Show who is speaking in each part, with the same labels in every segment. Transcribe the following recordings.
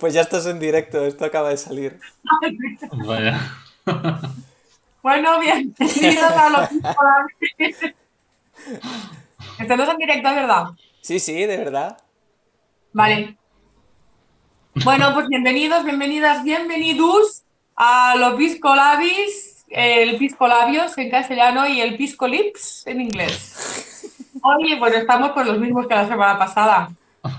Speaker 1: Pues ya estás en directo, esto acaba de salir.
Speaker 2: Vaya.
Speaker 3: Bueno, bienvenidos a los Estamos en directo, ¿verdad?
Speaker 1: Sí, sí, de verdad.
Speaker 3: Vale. Bueno, pues bienvenidos, bienvenidas, bienvenidos a los Pisco Labis, el Pisco Labios en castellano y el Pisco Lips en inglés. Oye, bueno, estamos por los mismos que la semana pasada.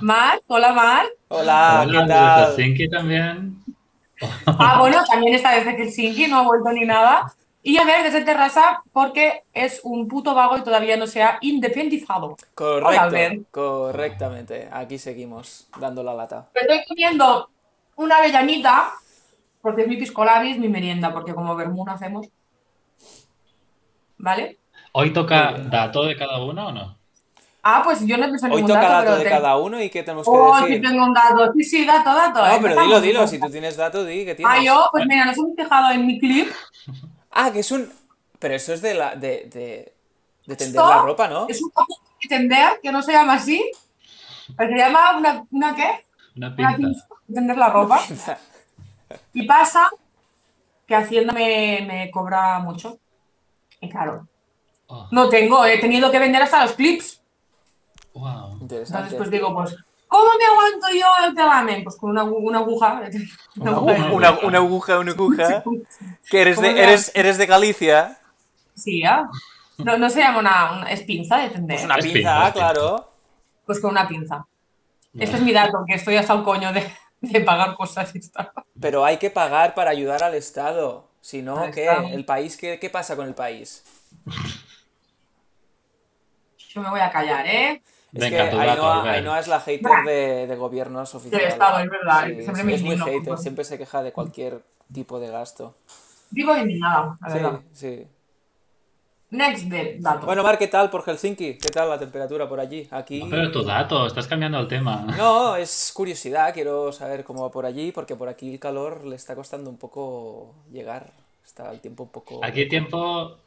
Speaker 3: Mar, hola Mar.
Speaker 1: Hola,
Speaker 2: Hola,
Speaker 1: Ah, ¿qué
Speaker 2: desde
Speaker 1: tal?
Speaker 2: Helsinki también.
Speaker 3: Ah, bueno, también está desde Helsinki, no ha vuelto ni nada. Y a ver, desde Terrassa, porque es un puto vago y todavía no se ha independizado. Hola,
Speaker 1: Correcto,
Speaker 3: Albert.
Speaker 1: correctamente. Aquí seguimos dando la lata.
Speaker 3: Me estoy comiendo una avellanita, porque es mi pisco labis, mi merienda, porque como vermú no hacemos. ¿Vale?
Speaker 2: ¿Hoy toca
Speaker 1: Muy bien.
Speaker 2: dato de cada uno o no?
Speaker 3: Ah, pues yo no he pensado en
Speaker 1: Hoy
Speaker 3: ningún
Speaker 1: toca
Speaker 3: dato,
Speaker 1: dato
Speaker 3: pero
Speaker 1: de
Speaker 3: te-
Speaker 1: cada uno y qué tenemos que
Speaker 3: Oh, sí
Speaker 1: decir.
Speaker 3: tengo un dato. Sí, sí, dato, dato.
Speaker 1: No, pero dilo,
Speaker 3: Empezamos.
Speaker 1: dilo. Si tú tienes dato, di que
Speaker 3: Ah,
Speaker 1: tienes.
Speaker 3: yo, pues mira, nos hemos fijado en mi clip.
Speaker 1: Ah, que es un. Pero eso es de la. de. de, de tender
Speaker 3: Esto
Speaker 1: la ropa, ¿no?
Speaker 3: Es un poco de tender, que no se llama así. Pero se llama una, una qué?
Speaker 2: Una
Speaker 3: Una
Speaker 2: pinta.
Speaker 3: pinza, tender la ropa. Y pasa que Hacienda me, me cobra mucho. Y claro,
Speaker 2: Oh,
Speaker 3: no tengo, he tenido que vender hasta los clips.
Speaker 2: wow.
Speaker 1: Interesante.
Speaker 3: Entonces, pues digo, pues, ¿cómo me aguanto yo el telamen? Pues con una, agu- una aguja.
Speaker 1: Una,
Speaker 2: aguja.
Speaker 1: agu- una, una aguja, una aguja. Que eres de,
Speaker 3: ¿Cómo se
Speaker 1: eres, eres de Galicia.
Speaker 3: Sí, ¿ah? No, no se llama una, una- es pinza de tender.
Speaker 1: Pues una
Speaker 2: Es
Speaker 1: pinza,
Speaker 2: pinza, es pinza.
Speaker 1: claro.
Speaker 3: Pues con una pinza.
Speaker 2: Vale.
Speaker 3: Este es mi dato, que estoy hasta el coño de, de pagar cosas y esta.
Speaker 1: Pero hay que pagar para ayudar al Estado. Si no,
Speaker 3: Al
Speaker 1: ¿qué?
Speaker 3: Estado.
Speaker 1: ¿El país qué, qué pasa con el país?
Speaker 3: Yo me voy a callar, ¿eh?
Speaker 1: Es
Speaker 2: Venga,
Speaker 1: que
Speaker 2: tu dato,
Speaker 1: Ainhoa,
Speaker 2: Albert.
Speaker 1: Ainhoa es la hater de, de gobiernos oficiales.
Speaker 3: Estado, es verdad,
Speaker 1: Sí,
Speaker 3: siempre
Speaker 1: es-
Speaker 3: me
Speaker 1: es muy
Speaker 3: indigno. pues.
Speaker 1: hater, siempre se queja de cualquier tipo de gasto.
Speaker 3: Vivo indignada, la
Speaker 1: Sí,
Speaker 3: verdad.
Speaker 1: sí.
Speaker 3: Next de dato.
Speaker 1: Bueno, Mar, ¿qué tal por Helsinki? ¿Qué tal la temperatura por allí? Aquí.
Speaker 2: Ah, Pero tu dato, estás cambiando el tema.
Speaker 1: No, es curiosidad, quiero saber cómo va por allí, porque por aquí el calor le está costando un poco llegar. Está el tiempo un poco.
Speaker 2: Aquí tiempo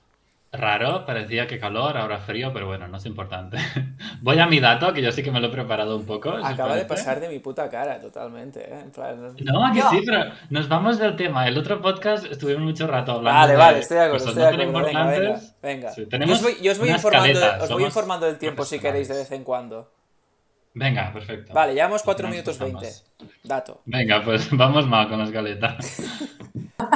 Speaker 2: raro, parecía que calor, ahora frío, pero bueno, no es importante. Voy a mi dato, que yo sí que me lo he preparado un poco. si
Speaker 1: Acaba de
Speaker 2: parece.
Speaker 1: pasar de mi puta cara, totalmente. ¿eh? En plan-
Speaker 2: No, aquí
Speaker 3: No.
Speaker 2: sí, pero nos vamos del tema. El otro podcast estuvimos mucho rato hablando.
Speaker 1: Vale,
Speaker 2: de
Speaker 1: vale, estoy de acuerdo,
Speaker 2: cosas
Speaker 1: estoy de
Speaker 2: no tan
Speaker 1: acuerdo. Venga, venga,
Speaker 2: importantes.
Speaker 1: venga.
Speaker 2: Sí,
Speaker 1: yo
Speaker 2: tenemos
Speaker 1: os voy, yo os voy
Speaker 2: una
Speaker 1: informando,
Speaker 2: escaleta,
Speaker 1: os voy
Speaker 2: somos
Speaker 1: informando del tiempo si queréis de vez en cuando.
Speaker 2: Venga, perfecto.
Speaker 1: Vale, llevamos 4
Speaker 2: Nos
Speaker 1: minutos 20.
Speaker 2: pasamos.
Speaker 1: Dato.
Speaker 2: Venga, pues vamos mal con la escaleta.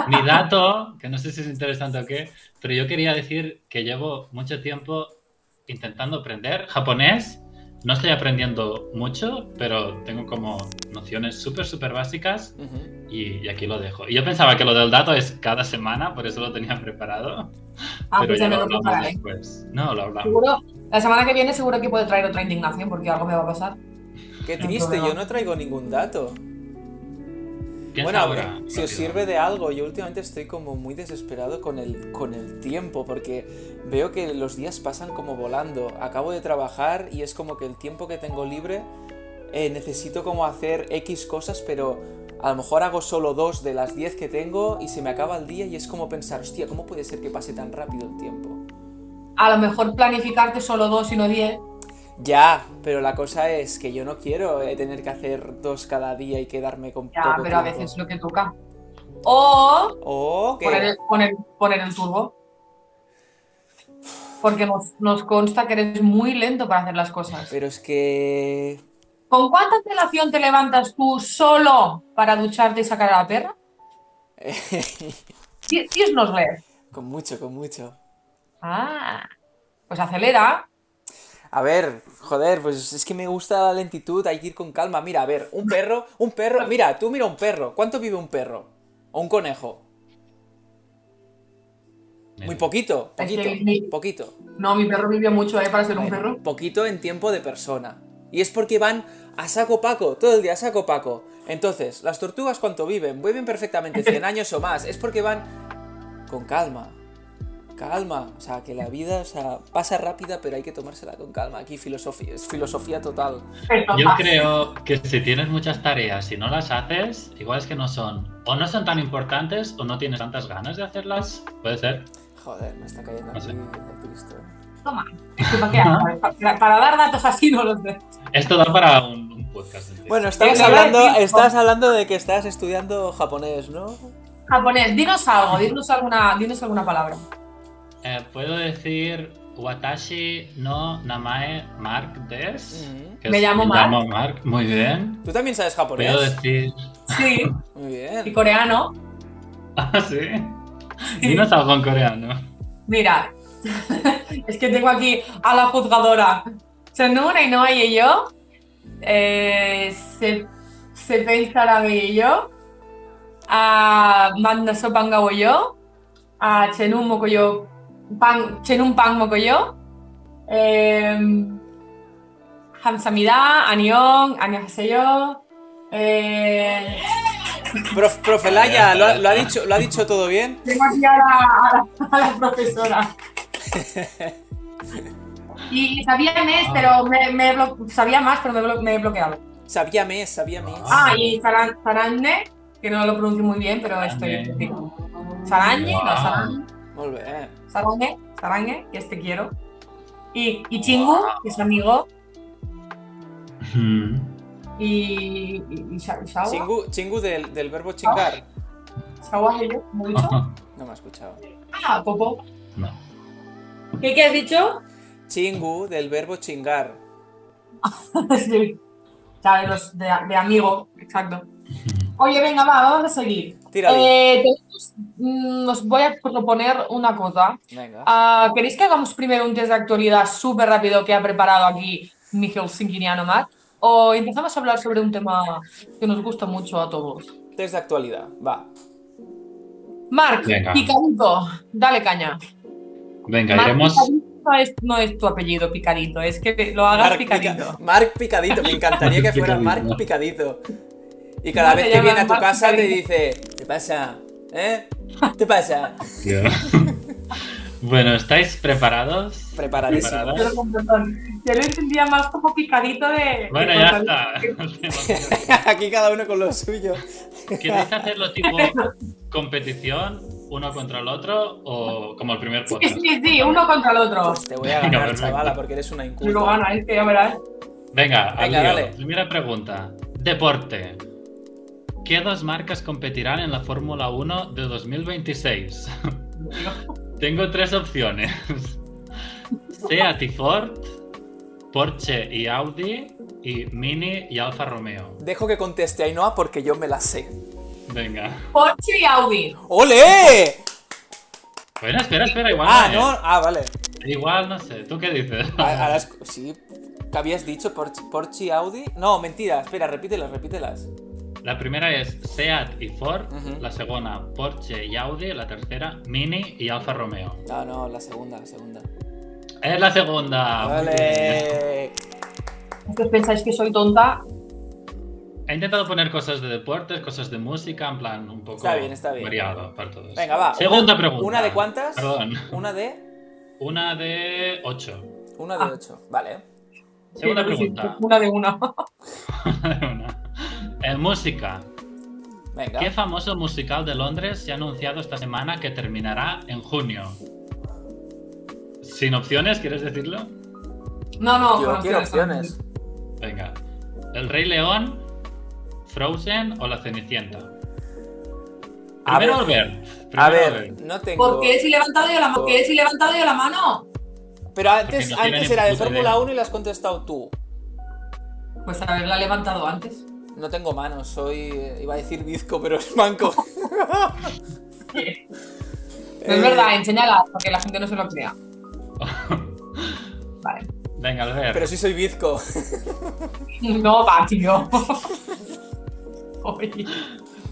Speaker 2: Mi dato, que no sé si es interesante o qué, pero yo quería decir que llevo mucho tiempo intentando aprender japonés. No estoy aprendiendo mucho, pero tengo como nociones súper, súper básicas
Speaker 1: Ujú.
Speaker 2: y, y aquí lo dejo. Y yo pensaba que lo del dato es cada semana, por eso lo tenía preparado,
Speaker 3: ah,
Speaker 2: pero
Speaker 3: pues ya
Speaker 2: ya
Speaker 3: me
Speaker 2: lo
Speaker 3: lo
Speaker 2: hablamos
Speaker 3: prepararé.
Speaker 2: después. No, lo hablamos.
Speaker 3: Seguro, la semana que viene seguro que puedo traer otra indignación porque algo me va a pasar.
Speaker 1: Qué
Speaker 3: No
Speaker 1: triste,
Speaker 3: problema.
Speaker 1: yo no traigo ningún dato.
Speaker 2: Piensa
Speaker 1: Bueno,
Speaker 2: ahora,
Speaker 1: a ver, si os
Speaker 2: rápido.
Speaker 1: sirve de algo, yo últimamente estoy como muy desesperado con el, con el tiempo, porque veo que los días pasan como volando. Acabo de trabajar y es como que el tiempo que tengo libre eh, necesito como hacer X cosas, pero a lo mejor hago solo dos de las 10 que tengo y se me acaba el día y es como pensar, hostia, ¿cómo puede ser que pase tan rápido el tiempo?
Speaker 3: A lo mejor planificarte solo dos y no diez.
Speaker 1: Ya, pero la cosa es que yo no quiero eh, tener que hacer dos cada día y quedarme con
Speaker 3: Ya,
Speaker 1: poco
Speaker 3: pero a
Speaker 1: tiempo.
Speaker 3: veces es lo que toca. O
Speaker 1: O que...
Speaker 3: poner el, poner, poner el turbo. Porque nos, nos consta que eres muy lento para hacer las cosas.
Speaker 1: Pero es que...
Speaker 3: ¿Con cuánta antelación te levantas tú solo para ducharte y sacar a la perra? Sí, sí, nos leer.
Speaker 1: Con mucho, con mucho.
Speaker 3: Ah, pues acelera.
Speaker 1: A ver, joder, pues es que me gusta la lentitud, hay que ir con calma. Mira, a ver, un perro, un perro, mira, tú mira un perro. ¿Cuánto vive un perro? ¿O un conejo? Muy poquito,
Speaker 3: Es
Speaker 1: poquito,
Speaker 3: que mi-
Speaker 1: poquito.
Speaker 3: No, mi perro vivió mucho, ¿eh? Para ser un
Speaker 1: Bueno,
Speaker 3: perro.
Speaker 1: Poquito en tiempo de persona. Y es porque van a saco paco, todo el día a saco paco. Entonces, las tortugas cuánto viven? Viven perfectamente 100 años o más. Es porque van con calma. Calma, o sea, que la vida o sea, pasa rápida, pero hay que tomársela con calma. Aquí filosofía, es filosofía total.
Speaker 2: Yo creo que si tienes muchas tareas y no las haces, igual es que no son, o no son tan importantes o no tienes tantas ganas de hacerlas, puede ser.
Speaker 1: Joder, me está cayendo
Speaker 2: No
Speaker 1: aquí
Speaker 2: sé.
Speaker 1: el Cristo.
Speaker 3: toma. Disculpa, ¿qué hago? Para, para dar datos así no los veo.
Speaker 2: Esto da para un, un podcast. entero.
Speaker 1: Bueno, estás
Speaker 3: Sí, sí,
Speaker 1: hablando,
Speaker 3: sí.
Speaker 1: estás hablando de que estás estudiando japonés, ¿no?
Speaker 3: Japonés, dinos algo, dinos alguna, dinos alguna palabra.
Speaker 2: Eh, puedo decir Watashi no Namae Mark Des.
Speaker 1: Mm.
Speaker 2: que
Speaker 3: Me
Speaker 2: es-
Speaker 3: llamo Mark.
Speaker 2: llamo Mark. Muy bien.
Speaker 1: Tú también sabes
Speaker 2: Puedo
Speaker 1: japonés.
Speaker 2: decir.
Speaker 3: Sí,
Speaker 1: Muy
Speaker 3: y
Speaker 1: bien.
Speaker 3: coreano.
Speaker 2: Ah, sí. Dinos algo en coreano.
Speaker 3: Mira, es que tengo aquí a la juzgadora. Senura y Noa y yo. Eh, se, se pensará y yo. A Manda Sopangago yo. A Chenun Mokoyo. Pan, Chenun Pan Mokoyo. Eh, Hamsamida, Anion, Anihaseyo. Eh,
Speaker 1: Prof- profe Laya, ¿lo, ha- lo ha dicho, ¿lo ha dicho todo bien?
Speaker 3: Tengo aquí a la, a la- a la profesora. Y sabía mes, pero me, me he blo- sabía más, pero me, blo- me he bloqueado.
Speaker 1: Sabía mes, sabía mes.
Speaker 3: Ah, y Saran- Sarande, que no lo pronuncio muy bien, pero estoy.
Speaker 2: Sarande.
Speaker 3: sí. Saranje, no,
Speaker 2: Wow.
Speaker 3: Saran-
Speaker 1: Muy bien.
Speaker 3: Sarange, Sarange, que es te quiero. Y, y Chingu, que es amigo.
Speaker 2: Mm.
Speaker 3: Y, y, y Sha- Shawa.
Speaker 1: Chingu, chingu del, del verbo chingar.
Speaker 3: Shawa y yo, ¿cómo he dicho?
Speaker 1: No me ha escuchado.
Speaker 3: Ah, Popo.
Speaker 2: No.
Speaker 3: ¿Qué, qué has dicho?
Speaker 1: Chingu del verbo chingar.
Speaker 3: sí. Claro, los de, de amigo, exacto. Oye, venga, va, vamos a seguir.
Speaker 1: Tírale.
Speaker 3: Eh, tenemos- mm, os voy a proponer una cosa.
Speaker 1: Venga.
Speaker 3: Ah, ¿Queréis que hagamos primero un test de actualidad súper rápido que ha preparado aquí mi helsinkiniano Matt? ¿O empezamos a hablar sobre un tema que nos gusta mucho a todos?
Speaker 1: Test de actualidad. Va.
Speaker 3: Marc,
Speaker 2: Venga.
Speaker 3: picadito, dale caña.
Speaker 2: Venga,
Speaker 3: Marc
Speaker 2: iremos.
Speaker 3: Picadito es- no es tu apellido, picadito, es que lo hagas
Speaker 1: Marc Pica-
Speaker 3: picadito.
Speaker 1: Marc Picadito. Me encantaría que fuera
Speaker 2: Picadito.
Speaker 1: Marc Picadito. Y cada
Speaker 3: No,
Speaker 1: vez
Speaker 3: te
Speaker 1: que viene a
Speaker 3: llaman
Speaker 1: tu
Speaker 3: Marc
Speaker 1: casa te
Speaker 3: Picadito.
Speaker 1: dice, ¿qué pasa? ¿Eh? ¿Qué pasa?
Speaker 2: tío. bueno, ¿estáis preparados?
Speaker 1: Preparadísimo.
Speaker 2: Preparadas.
Speaker 3: Pero con perdón, yo lo entendía más como picadito de.
Speaker 2: Bueno,
Speaker 3: de
Speaker 2: ya
Speaker 3: cortadito.
Speaker 2: está.
Speaker 1: Aquí cada uno con lo suyo.
Speaker 2: ¿Queréis hacerlo tipo competición uno contra el otro o como el primer
Speaker 3: Sí,
Speaker 2: podcast?
Speaker 3: sí, sí, uno contra el otro.
Speaker 1: Pues te voy a
Speaker 2: Venga,
Speaker 1: ganar,
Speaker 2: perfecto.
Speaker 1: chavala, porque eres una
Speaker 3: Y Lo
Speaker 1: inculta.
Speaker 3: gana, es que ya verás.
Speaker 2: Venga, al
Speaker 1: Venga,
Speaker 2: lío.
Speaker 1: dale.
Speaker 2: Primera pregunta. Deporte. ¿Qué dos marcas competirán en la Fórmula 1 de 2026? Tengo tres opciones. Seat y Ford, Porsche y Audi y Mini y Alfa Romeo.
Speaker 1: Dejo que conteste Ainhoa porque yo me la sé.
Speaker 2: Venga.
Speaker 3: Porsche y Audi.
Speaker 1: ¡Ole!
Speaker 2: Bueno, espera, espera, igual.
Speaker 1: Ah,
Speaker 2: no
Speaker 1: no. Ah, vale.
Speaker 2: es. Igual no sé. ¿Tú qué dices?
Speaker 1: A- ahora es- sí. ¿Qué habías dicho? Porsche, Porsche y Audi. No, mentira. Espera, repítelas, repítelas.
Speaker 2: La primera es Seat y Ford,
Speaker 1: Ujú.
Speaker 2: la segunda Porsche y Audi, la tercera Mini y Alfa Romeo.
Speaker 1: No, no, la segunda, la segunda.
Speaker 2: Es la segunda. Ah, Muy bien.
Speaker 1: ¡Ole!
Speaker 3: ¿Vosotros pensáis que soy tonta?
Speaker 2: He intentado poner cosas de deportes, cosas de música, en plan un poco
Speaker 1: Está bien, está bien.
Speaker 2: variado para todos.
Speaker 1: Venga, va.
Speaker 2: Segunda
Speaker 1: Una-
Speaker 2: pregunta.
Speaker 1: ¿Una de cuántas?
Speaker 2: Perdón.
Speaker 1: Una de.
Speaker 2: Una de ocho.
Speaker 1: Una de
Speaker 3: Ah.
Speaker 1: ocho. Vale.
Speaker 2: Segunda
Speaker 3: Sí,
Speaker 2: pregunta.
Speaker 3: Una de una.
Speaker 2: Una. Eh, música.
Speaker 1: Venga.
Speaker 2: ¿Qué famoso musical de Londres se ha anunciado esta semana que terminará en junio? Sin opciones, ¿quieres decirlo?
Speaker 3: No, no,
Speaker 1: Yo
Speaker 3: con
Speaker 1: quiero opciones.
Speaker 2: Venga. ¿El Rey León, Frozen o la Cenicienta?
Speaker 1: A
Speaker 2: Primero
Speaker 1: ver.
Speaker 2: Albert. Primero
Speaker 1: A ver,
Speaker 2: Albert.
Speaker 1: no tengo.
Speaker 3: ¿Por qué si he levantado yo la mano? ¿Por qué si he levantado yo la mano?
Speaker 1: Pero antes,
Speaker 2: Porque no tiene
Speaker 1: antes
Speaker 2: ni
Speaker 1: era de
Speaker 2: puta
Speaker 1: Fórmula
Speaker 2: idea.
Speaker 1: 1 y la has contestado tú.
Speaker 3: Pues haberla levantado antes.
Speaker 1: No tengo manos, soy. eh, Iba a decir bizco, pero es manco.
Speaker 3: No es
Speaker 1: Eh,
Speaker 3: verdad, enséñala, porque la gente no se lo crea. Vale.
Speaker 2: Venga, Albert.
Speaker 1: Pero sí soy bizco.
Speaker 3: No va, tío. Oye.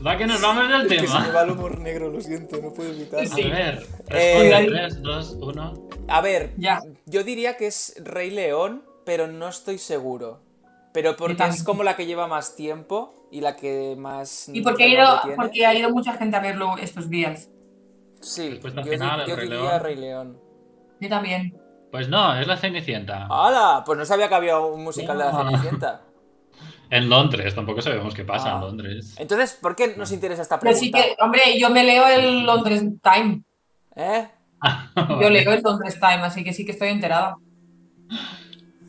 Speaker 2: Va que nos vamos del
Speaker 1: Es que se me
Speaker 2: tema.
Speaker 1: va el humor negro, lo siento, no puedo evitarlo.
Speaker 3: Sí.
Speaker 2: Albert, responde
Speaker 1: Eh,
Speaker 2: 3, 2, 1.
Speaker 1: A ver,
Speaker 3: Ya.
Speaker 1: yo diría que es Rey León, pero no estoy seguro. Pero
Speaker 3: Yo
Speaker 1: porque
Speaker 3: también.
Speaker 1: es como la que lleva más tiempo y la que más.
Speaker 3: Y porque ha,
Speaker 1: renombre
Speaker 3: ido,
Speaker 1: Mm, tiene.
Speaker 3: porque ha ido mucha gente a verlo estos días.
Speaker 1: Sí, yo,
Speaker 2: Respuesta
Speaker 1: di-
Speaker 2: Pues final, el
Speaker 1: yo
Speaker 2: Rey
Speaker 1: diría
Speaker 2: León.
Speaker 1: Rey León.
Speaker 3: Yo también.
Speaker 2: Pues no, es la Cenicienta.
Speaker 1: ¡Hala! Pues no sabía que había un musical de la
Speaker 2: Ah.
Speaker 1: Cenicienta.
Speaker 2: En Londres, tampoco sabemos qué pasa
Speaker 1: Ah.
Speaker 2: en Londres.
Speaker 1: Entonces, ¿por qué nos interesa esta
Speaker 3: Pero sí
Speaker 1: pregunta?
Speaker 3: que, hombre, yo me leo el Londres Time.
Speaker 1: ¿Eh?
Speaker 3: Yo leo el Donde Time, así que sí que estoy enterada.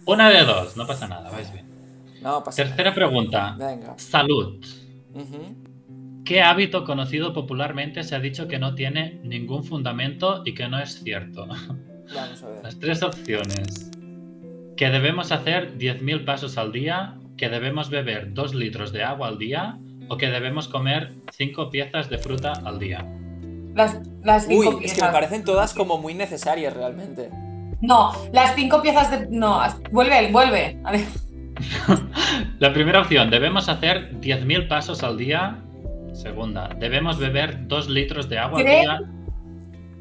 Speaker 2: Una de dos, no pasa nada, vais bien.
Speaker 1: No, pasa
Speaker 2: Tercera pregunta.
Speaker 1: nada. Venga.
Speaker 2: Salud.
Speaker 1: Ujú.
Speaker 2: ¿Qué hábito conocido popularmente se ha dicho que no tiene ningún fundamento y que no es cierto?
Speaker 1: Vamos a ver.
Speaker 2: Las tres opciones. Que debemos hacer 10.000 pasos al día, que debemos beber 2 litros de agua al día o que debemos comer 5 piezas de fruta al día.
Speaker 3: Las, las cinco
Speaker 1: Uy, es que me
Speaker 3: piezas.
Speaker 1: parecen todas como muy necesarias realmente.
Speaker 3: No, las cinco piezas de. No, as- vuelve, vuelve. A ver.
Speaker 2: La primera opción, debemos hacer 10.000 pasos al día. Segunda, debemos beber 2 litros de agua al
Speaker 3: Creo-
Speaker 2: día.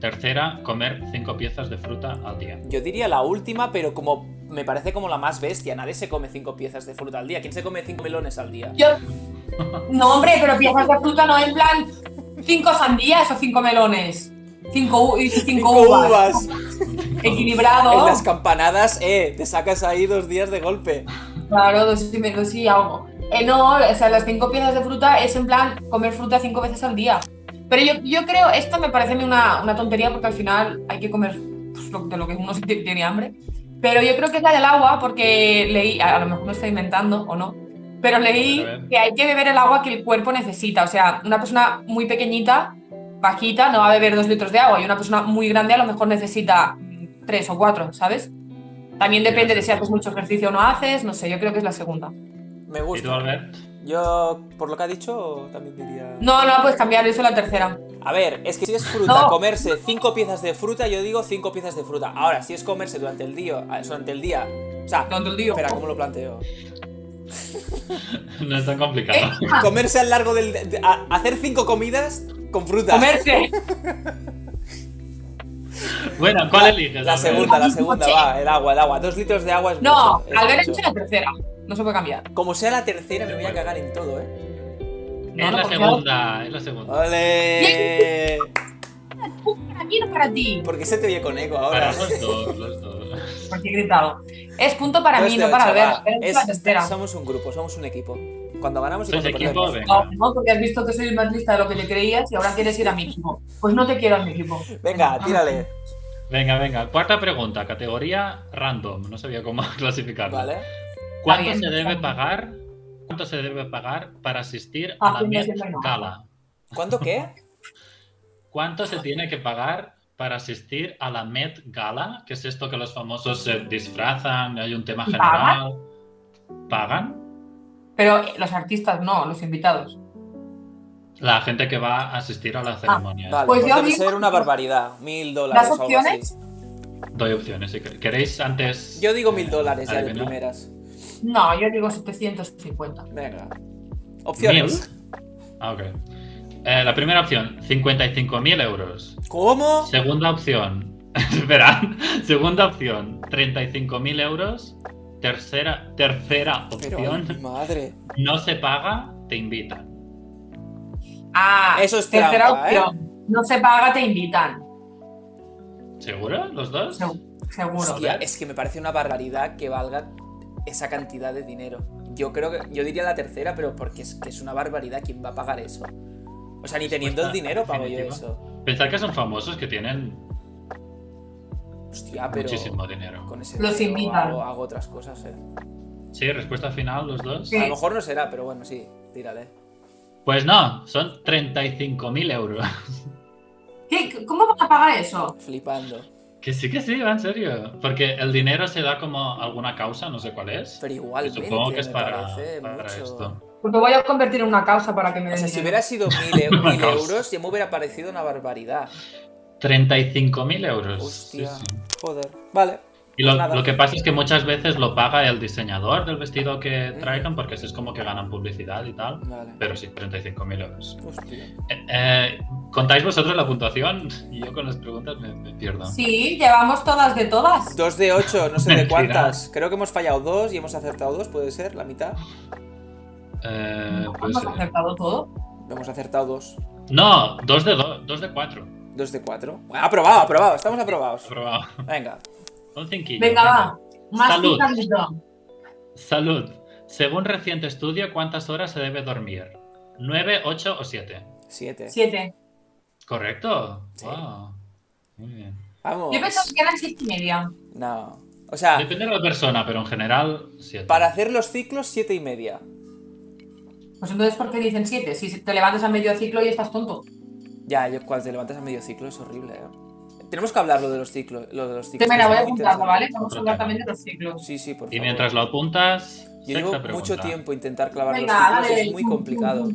Speaker 2: Tercera, comer 5 piezas de fruta al día.
Speaker 1: Yo diría la última, pero como me parece como la más bestia. Nadie se come cinco piezas de fruta al día. ¿Quién se come cinco melones al día?
Speaker 3: Yo. No, hombre, pero piezas de fruta no en plan cinco sandías o cinco melones. Cinco, u- y cinco uvas.
Speaker 1: En
Speaker 3: Equilibrado.
Speaker 1: las campanadas, eh, te sacas ahí dos días de golpe.
Speaker 3: Claro, dos y medio, sí, algo. Eh, no, o sea, las cinco piezas de fruta es en plan comer fruta cinco veces al día. Pero yo, yo creo, esto me parece a mí una, una tontería porque al final hay que comer pues, lo- de lo que uno se tiene, tiene hambre. Pero yo creo que es la del agua porque leí, a, a lo mejor me estoy inventando o no, pero leí
Speaker 2: A ver.
Speaker 3: que hay que beber el agua que el cuerpo necesita. O sea, una persona muy pequeñita, bajita, no va a beber dos litros de agua y una persona muy grande a lo mejor necesita mm, tres o cuatro, ¿sabes? También depende de si haces mucho ejercicio o no haces, no sé, yo creo que es la segunda.
Speaker 1: Me
Speaker 2: ¿Y tú,
Speaker 1: gusta.
Speaker 2: Albert?
Speaker 1: Yo, por lo que ha dicho, también diría.
Speaker 3: No, no, puedes cambiar, eso es la tercera.
Speaker 1: A ver, es que si es fruta,
Speaker 3: No.
Speaker 1: comerse cinco piezas de fruta, yo digo cinco piezas de fruta. Ahora, si es comerse durante el día, ah, durante el día. O sea,
Speaker 3: No te lo digo.
Speaker 1: espera, ¿cómo lo planteo?
Speaker 2: No es tan complicado.
Speaker 3: Eh, ah,
Speaker 1: Comerse a lo largo del. de- a- hacer cinco comidas con fruta.
Speaker 3: comerse.
Speaker 2: Bueno, ¿cuál eliges?
Speaker 1: La
Speaker 2: Albert?
Speaker 1: segunda, la segunda,
Speaker 3: Noche.
Speaker 1: va, el agua, el agua. Dos litros de agua es
Speaker 3: No,
Speaker 1: mucho, es
Speaker 3: al ver
Speaker 1: mucho.
Speaker 3: hecho la tercera. No se puede cambiar.
Speaker 1: Como sea la tercera, me voy a cagar en todo, eh.
Speaker 3: No, no,
Speaker 2: Es la
Speaker 3: porque
Speaker 2: segunda, es la segunda.
Speaker 1: ¡Ole!
Speaker 3: Para mí no para ti.
Speaker 1: ¿Por qué se te oye con eco ahora?
Speaker 2: Para los dos, los dos.
Speaker 3: Porque he gritado. Es punto para
Speaker 1: Dos
Speaker 3: mí,
Speaker 1: de
Speaker 3: no para
Speaker 1: ocho,
Speaker 3: Albert.
Speaker 1: va.
Speaker 3: Albert este, es, la
Speaker 1: Es-
Speaker 3: tercera.
Speaker 1: Somos un grupo, somos un equipo. Cuando ganamos y
Speaker 2: Sois
Speaker 1: cuando
Speaker 2: equipo,
Speaker 1: perdemos.
Speaker 2: venga.
Speaker 3: No, no, porque has visto que soy más lista de lo que te creías y ahora quieres ir a mi equipo. Pues no te quiero a mi equipo.
Speaker 1: Venga,
Speaker 3: Ah.
Speaker 1: tírale.
Speaker 2: Venga, venga. Cuarta pregunta, categoría random. No sabía cómo clasificarla.
Speaker 1: Vale.
Speaker 2: ¿Cuánto
Speaker 3: Está bien,
Speaker 2: se
Speaker 3: está
Speaker 2: debe
Speaker 3: bien.
Speaker 2: pagar? ¿Cuánto se debe pagar para asistir a
Speaker 3: Ah,
Speaker 2: la
Speaker 3: sí, me
Speaker 2: Met
Speaker 3: siento mal.
Speaker 2: Gala?
Speaker 1: ¿Cuánto qué?
Speaker 2: ¿Cuánto
Speaker 3: Ah.
Speaker 2: se tiene que pagar para asistir a la Met Gala? Que es esto que los famosos se disfrazan, hay un tema
Speaker 3: ¿Y pagan?
Speaker 2: general. ¿Pagan?
Speaker 3: Pero los artistas no, los invitados.
Speaker 2: La gente que va a asistir a la ceremonia.
Speaker 1: Vale,
Speaker 3: Pues
Speaker 1: pues
Speaker 3: yo
Speaker 1: debe
Speaker 3: digo-
Speaker 1: ser una barbaridad. Mil dólares
Speaker 3: ¿Las
Speaker 1: o algo así.
Speaker 3: opciones?
Speaker 2: Doy opciones si queréis. ¿Queréis antes?
Speaker 1: Yo digo mil dólares ya de
Speaker 2: Adivinar.
Speaker 1: primeras.
Speaker 3: No, yo digo 750.
Speaker 1: Venga. Opciones.
Speaker 2: Ah, ok. Eh, la primera opción, 55.000 euros.
Speaker 1: ¿Cómo?
Speaker 2: Segunda opción, espera. Segunda opción, 35.000 euros. Tercera, tercera
Speaker 1: Pero, ay,
Speaker 2: opción,
Speaker 1: mi madre.
Speaker 2: no se paga, te invitan.
Speaker 3: Ah,
Speaker 1: Eso es
Speaker 3: tercera
Speaker 1: trampa, ¿eh?
Speaker 3: opción. No se paga, te invitan.
Speaker 2: ¿Seguro? ¿Los dos?
Speaker 3: Segu- Seguro.
Speaker 1: Hostia,
Speaker 2: ¿ves?
Speaker 1: es que me parece una barbaridad que valga esa cantidad de dinero. Yo creo que. Yo diría la tercera, pero porque es que es una barbaridad. ¿Quién va a pagar eso? O
Speaker 2: Pues
Speaker 1: sea, ni teniendo el
Speaker 2: Respuesta
Speaker 1: dinero pago yo
Speaker 2: definitiva.
Speaker 1: eso.
Speaker 2: Pensad que son famosos que tienen
Speaker 1: Hostia, pero.
Speaker 2: muchísimo dinero.
Speaker 1: Con ese
Speaker 3: Los
Speaker 1: dinero
Speaker 3: invitan.
Speaker 1: hago, hago otras cosas, eh.
Speaker 2: Sí, respuesta final, los dos.
Speaker 3: Sí.
Speaker 1: A lo mejor no será, pero bueno, sí, tírale.
Speaker 2: Pues no, son 35.000 euros.
Speaker 3: ¿Qué? ¿Cómo van a pagar eso?
Speaker 1: Flipando.
Speaker 2: Que sí, que sí, va en serio. Porque el dinero se da como alguna causa, no sé cuál es.
Speaker 1: Pero
Speaker 2: Y
Speaker 1: igualmente
Speaker 2: Supongo que es
Speaker 1: me
Speaker 2: para,
Speaker 1: parece
Speaker 2: para
Speaker 1: mucho.
Speaker 2: esto.
Speaker 3: Porque voy a convertir en una causa para que me
Speaker 1: O
Speaker 3: den
Speaker 1: sea, si
Speaker 3: dinero.
Speaker 1: hubiera sido mil, e- mil
Speaker 2: Vamos.
Speaker 1: euros, ya me hubiera parecido una barbaridad.
Speaker 2: 35.000 euros.
Speaker 1: Hostia.
Speaker 2: Sí, sí.
Speaker 1: Joder. Vale.
Speaker 2: Y lo,
Speaker 1: Nada.
Speaker 2: lo que pasa es que muchas veces lo paga el diseñador del vestido que traigan, porque así es como que ganan publicidad y tal.
Speaker 1: Vale.
Speaker 2: Pero sí, 35.000 euros.
Speaker 1: Hostia.
Speaker 2: Eh, eh, ¿Contáis vosotros la puntuación? Y yo con las preguntas me, me pierdo.
Speaker 3: Sí, llevamos todas de todas.
Speaker 1: Dos de ocho, no sé de
Speaker 2: Mentira.
Speaker 1: cuántas. Creo que hemos fallado dos y hemos acertado dos, puede ser, la mitad.
Speaker 2: Eh, pues,
Speaker 3: Hemos
Speaker 2: eh,
Speaker 3: acertado todo.
Speaker 1: Hemos acertado dos.
Speaker 2: no, dos de dos, dos de cuatro.
Speaker 1: Dos de cuatro. Bueno, Aprobado, aprobado, estamos aprobados.
Speaker 2: Aprobado.
Speaker 1: Venga.
Speaker 2: Un cinquillo.
Speaker 3: Venga, va. Más
Speaker 2: Salud.
Speaker 3: citas de todo.
Speaker 2: Salud. Según reciente estudio, ¿cuántas horas se debe dormir? ¿Nueve, ocho o siete?
Speaker 1: Siete.
Speaker 3: Siete.
Speaker 2: Correcto.
Speaker 1: Sí.
Speaker 2: Wow. Muy bien.
Speaker 1: Vamos.
Speaker 3: Yo pensaba que eran siete y media.
Speaker 1: No. O
Speaker 3: Ah.
Speaker 1: sea,
Speaker 2: Depende de la persona, pero en general, siete.
Speaker 1: para hacer los ciclos, siete y media.
Speaker 3: Pues entonces, ¿por qué dicen siete? Si te levantas a medio ciclo y estás tonto.
Speaker 1: Ya, yo cuando te levantas a medio ciclo es horrible. ¿eh? Tenemos que hablar lo de los ciclos. Lo de los ciclos.
Speaker 3: Te me la voy a
Speaker 1: es muy
Speaker 3: apuntar,
Speaker 1: interesante.
Speaker 3: ¿vale? Vamos a hablar también de los ciclos.
Speaker 1: Sí, sí, por favor.
Speaker 2: Y mientras lo apuntas,
Speaker 1: Yo
Speaker 2: sexta
Speaker 1: llevo
Speaker 2: pregunta.
Speaker 1: mucho tiempo intentar clavar
Speaker 3: Venga,
Speaker 1: los ciclos,
Speaker 3: dale.
Speaker 1: es muy complicado.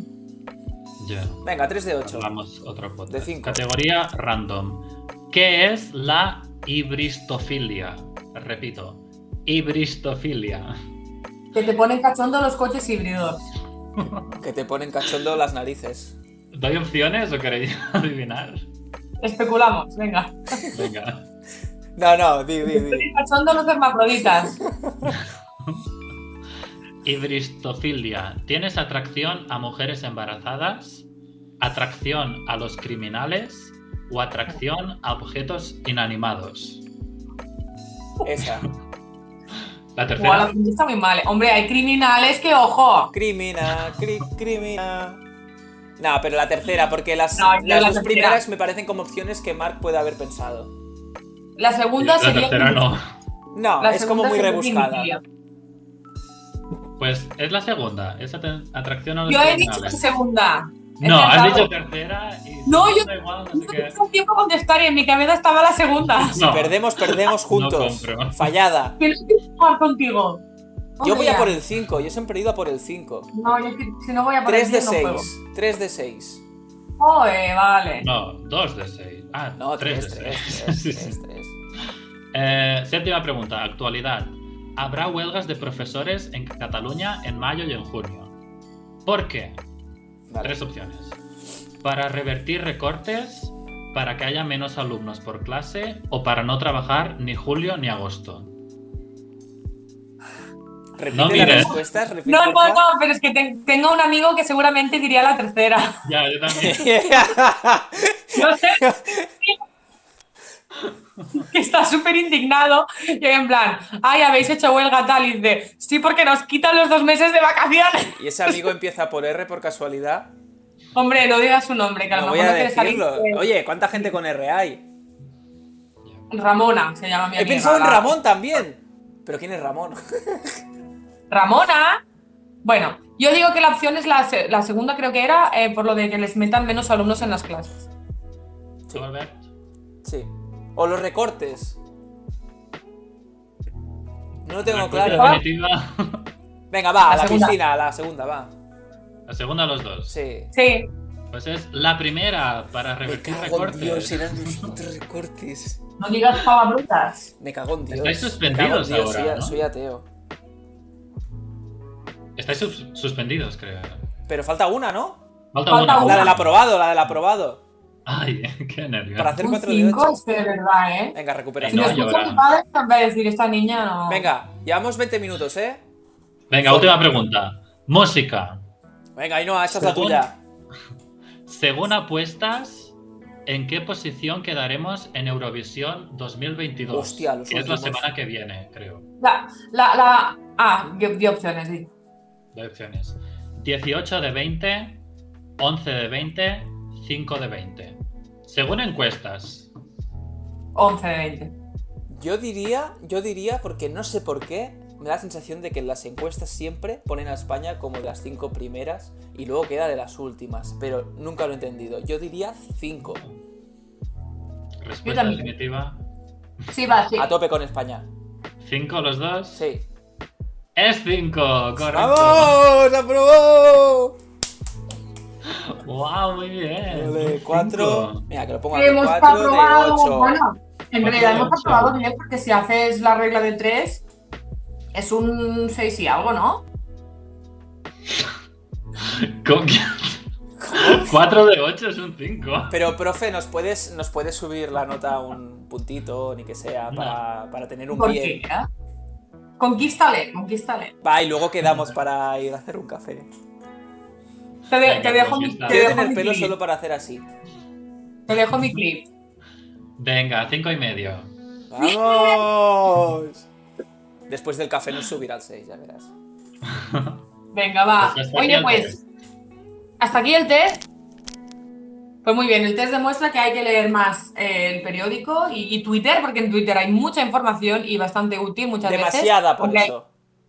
Speaker 2: Ya,
Speaker 1: Venga, 3 de 8.
Speaker 2: hablamos otro podcast.
Speaker 1: De cinco.
Speaker 2: Categoría random. ¿Qué es la hibristofilia? Repito, hibristofilia.
Speaker 3: Que te ponen cachondo los coches híbridos.
Speaker 1: Que te ponen cachondo las narices.
Speaker 2: ¿Doy opciones o queréis adivinar?
Speaker 3: Especulamos, venga.
Speaker 2: Venga.
Speaker 1: No, no, di, di, di.
Speaker 3: Ponen cachondo los hermafroditas.
Speaker 2: Hibristofilia. ¿Tienes atracción a mujeres embarazadas? ¿Atracción a los criminales? ¿O atracción a objetos inanimados?
Speaker 1: Esa.
Speaker 3: Buah,
Speaker 2: La
Speaker 3: la
Speaker 2: tercera.
Speaker 3: gente está muy mal. Hombre, hay criminales que, ojo.
Speaker 1: Crimina, cri, crimina. No, pero la tercera, porque las,
Speaker 3: No, yo
Speaker 1: las
Speaker 3: la
Speaker 1: dos
Speaker 3: tercera.
Speaker 1: primeras me parecen como opciones que Mark puede haber pensado.
Speaker 3: La segunda
Speaker 2: la
Speaker 3: sería.
Speaker 2: tercera no.
Speaker 1: No,
Speaker 3: la
Speaker 1: es como
Speaker 3: segunda
Speaker 1: muy
Speaker 3: sería
Speaker 1: rebuscada.
Speaker 3: criminología.
Speaker 2: Pues es la segunda. Es aten- atracción a los
Speaker 3: Yo he dicho la
Speaker 2: criminales.
Speaker 3: segunda. He
Speaker 2: no, has
Speaker 3: pensado.
Speaker 2: dicho tercera y
Speaker 3: No, yo-
Speaker 2: da igual, no sé
Speaker 3: No
Speaker 2: qué.
Speaker 3: tengo tiempo a contestar y en mi cabeza estaba la segunda.
Speaker 1: Si
Speaker 2: No.
Speaker 1: perdemos, perdemos juntos.
Speaker 2: compro.
Speaker 1: Fallada.
Speaker 3: Que no quiero jugar contigo.
Speaker 1: Yo
Speaker 3: Hombre,
Speaker 1: voy a
Speaker 3: ya.
Speaker 1: por el 5, yo siempre he ido a por el 5.
Speaker 3: No, yo es que si no voy a por
Speaker 1: 3
Speaker 3: el
Speaker 1: de
Speaker 3: mío, no juego.
Speaker 1: 6. 3 de 6.
Speaker 3: Joder, vale.
Speaker 2: No, dos de seis. Ah,
Speaker 1: No, 3,
Speaker 2: tres de
Speaker 1: 3,
Speaker 2: seis.
Speaker 1: 3,
Speaker 2: Sí, sí.
Speaker 1: 3, 3.
Speaker 2: Eh, séptima pregunta, actualidad. ¿Habrá huelgas de profesores en Cataluña en mayo y en junio? ¿Por qué?
Speaker 1: Vale.
Speaker 2: Tres opciones. Para revertir recortes, para que haya menos alumnos por clase o para no trabajar ni julio ni agosto.
Speaker 1: Repite las
Speaker 2: mires.
Speaker 1: respuestas, repite.
Speaker 3: No,
Speaker 1: porfa.
Speaker 3: no, no, pero es que te- tengo un amigo que seguramente diría la tercera.
Speaker 2: Ya, yo también.
Speaker 3: No sé. que está súper indignado y en plan, ay, habéis hecho huelga tal y dice, sí, porque nos quitan los dos meses de vacaciones.
Speaker 1: y ese amigo empieza por R por casualidad.
Speaker 3: Hombre, no digas su nombre, que a lo
Speaker 1: No voy
Speaker 3: mejor
Speaker 1: a
Speaker 3: no quiere salir.
Speaker 1: decirlo.
Speaker 3: Eh,
Speaker 1: Oye, ¿cuánta gente con R hay?
Speaker 3: Ramona se llama mi
Speaker 1: He
Speaker 3: amiga.
Speaker 1: pensado en
Speaker 3: la-
Speaker 1: Ramón también. Pero ¿quién es Ramón?
Speaker 3: Ramona. Bueno, yo digo que la opción es la, se- la segunda, creo que era, eh, por lo de que les metan menos alumnos en las clases.
Speaker 2: ¿Tú, Albert?
Speaker 1: Sí. O los recortes. No lo tengo
Speaker 2: Respuesta
Speaker 1: claro.
Speaker 2: definitiva.
Speaker 1: Venga, va, a
Speaker 3: La
Speaker 1: la
Speaker 3: segunda.
Speaker 1: piscina, a la segunda, va.
Speaker 2: La segunda, los dos.
Speaker 1: Sí.
Speaker 3: Sí,
Speaker 2: Pues es la primera, para
Speaker 1: Me
Speaker 2: revertir
Speaker 1: cago en
Speaker 2: recortes.
Speaker 1: Dios, eran los recortes.
Speaker 3: no digas palabrotas.
Speaker 1: Me cago en Dios.
Speaker 2: Estáis
Speaker 1: Me cago en
Speaker 2: suspendidos
Speaker 1: Dios,
Speaker 2: ahora,
Speaker 1: soy, a-
Speaker 2: ¿no?
Speaker 1: soy ateo.
Speaker 2: Estáis sus- suspendidos, creo.
Speaker 1: Pero falta una, ¿no?
Speaker 2: Falta,
Speaker 3: Falta
Speaker 2: una.
Speaker 1: La del aprobado, la del aprobado.
Speaker 2: Ay, qué nervios.
Speaker 1: Para hacer
Speaker 3: Un
Speaker 1: 4 de
Speaker 3: 5
Speaker 1: 8.
Speaker 3: es que de verdad, ¿eh?
Speaker 1: Venga,
Speaker 3: Si
Speaker 1: recuperación.
Speaker 3: lo
Speaker 2: No,
Speaker 3: escuchan
Speaker 2: llora.
Speaker 3: mis padres, van a decir, esta niña no.
Speaker 1: Venga, llevamos 20 minutos, ¿eh?
Speaker 2: Venga, última pregunta. Música.
Speaker 1: Venga, Ainhoa, esa es la
Speaker 2: Según-
Speaker 1: tuya.
Speaker 2: Según apuestas, ¿en qué posición quedaremos en Eurovisión 2022?
Speaker 1: Hostia, los
Speaker 2: que es la
Speaker 1: últimos.
Speaker 2: semana que viene, creo.
Speaker 3: La, la, la... Ah, di, di opciones, di.
Speaker 2: Doy opciones. 18 de 20, 11 de 20, 5 de 20. Según encuestas.
Speaker 3: 11 de 20.
Speaker 1: Yo diría, yo diría, porque no sé por qué, me da la sensación de que en las encuestas siempre ponen a España como de las 5 primeras y luego queda de las últimas, pero nunca lo he entendido. Yo diría 5.
Speaker 3: Yo
Speaker 2: Respuesta
Speaker 3: también.
Speaker 2: definitiva.
Speaker 3: Sí, va, sí.
Speaker 1: A tope con España.
Speaker 2: 5 los dos.
Speaker 1: Sí.
Speaker 2: Es 5, correcto.
Speaker 1: ¡Vamos! ¡Aprobó!
Speaker 2: ¡Wow! Muy bien.
Speaker 1: Vale,
Speaker 2: Eh, Cinco.
Speaker 1: 4. Mira, que lo pongo aquí.
Speaker 3: Hemos
Speaker 1: 4 de
Speaker 3: aprobado,
Speaker 1: 8.
Speaker 3: bueno, en
Speaker 2: Cuatro
Speaker 3: realidad
Speaker 2: de
Speaker 3: hemos
Speaker 2: ocho.
Speaker 3: aprobado bien porque si haces la regla de 3 es un 6 y algo, ¿no?
Speaker 2: ¿Cómo que- 4 de 8 es un 5.
Speaker 1: Pero, profe, ¿nos puedes, ¿nos puedes subir la nota un puntito, ni que sea, para, para tener un
Speaker 3: ¿Por
Speaker 1: bien?
Speaker 3: qué? Conquístale, conquístale.
Speaker 1: Va, y luego quedamos para ir a hacer un café.
Speaker 3: Te, de-
Speaker 2: Venga,
Speaker 3: te dejo, mi,
Speaker 2: conquista.
Speaker 3: te
Speaker 1: Quiero
Speaker 3: dejo mi
Speaker 1: tener pelo
Speaker 3: clip.
Speaker 1: solo para hacer así.
Speaker 3: Te dejo mi clip.
Speaker 2: Venga, 5 y medio.
Speaker 1: ¡Vamos! Después del café nos subirá al 6, ya verás.
Speaker 3: Venga, va.
Speaker 2: Pues hasta aquí
Speaker 3: Oye,
Speaker 2: el
Speaker 3: pues. Hasta aquí el test. Pues muy bien, el test demuestra que hay que leer más eh, el periódico y, y Twitter, porque en Twitter hay mucha información y bastante útil muchas
Speaker 1: Demasiada,
Speaker 3: veces.
Speaker 1: por
Speaker 3: porque hay-
Speaker 1: eso.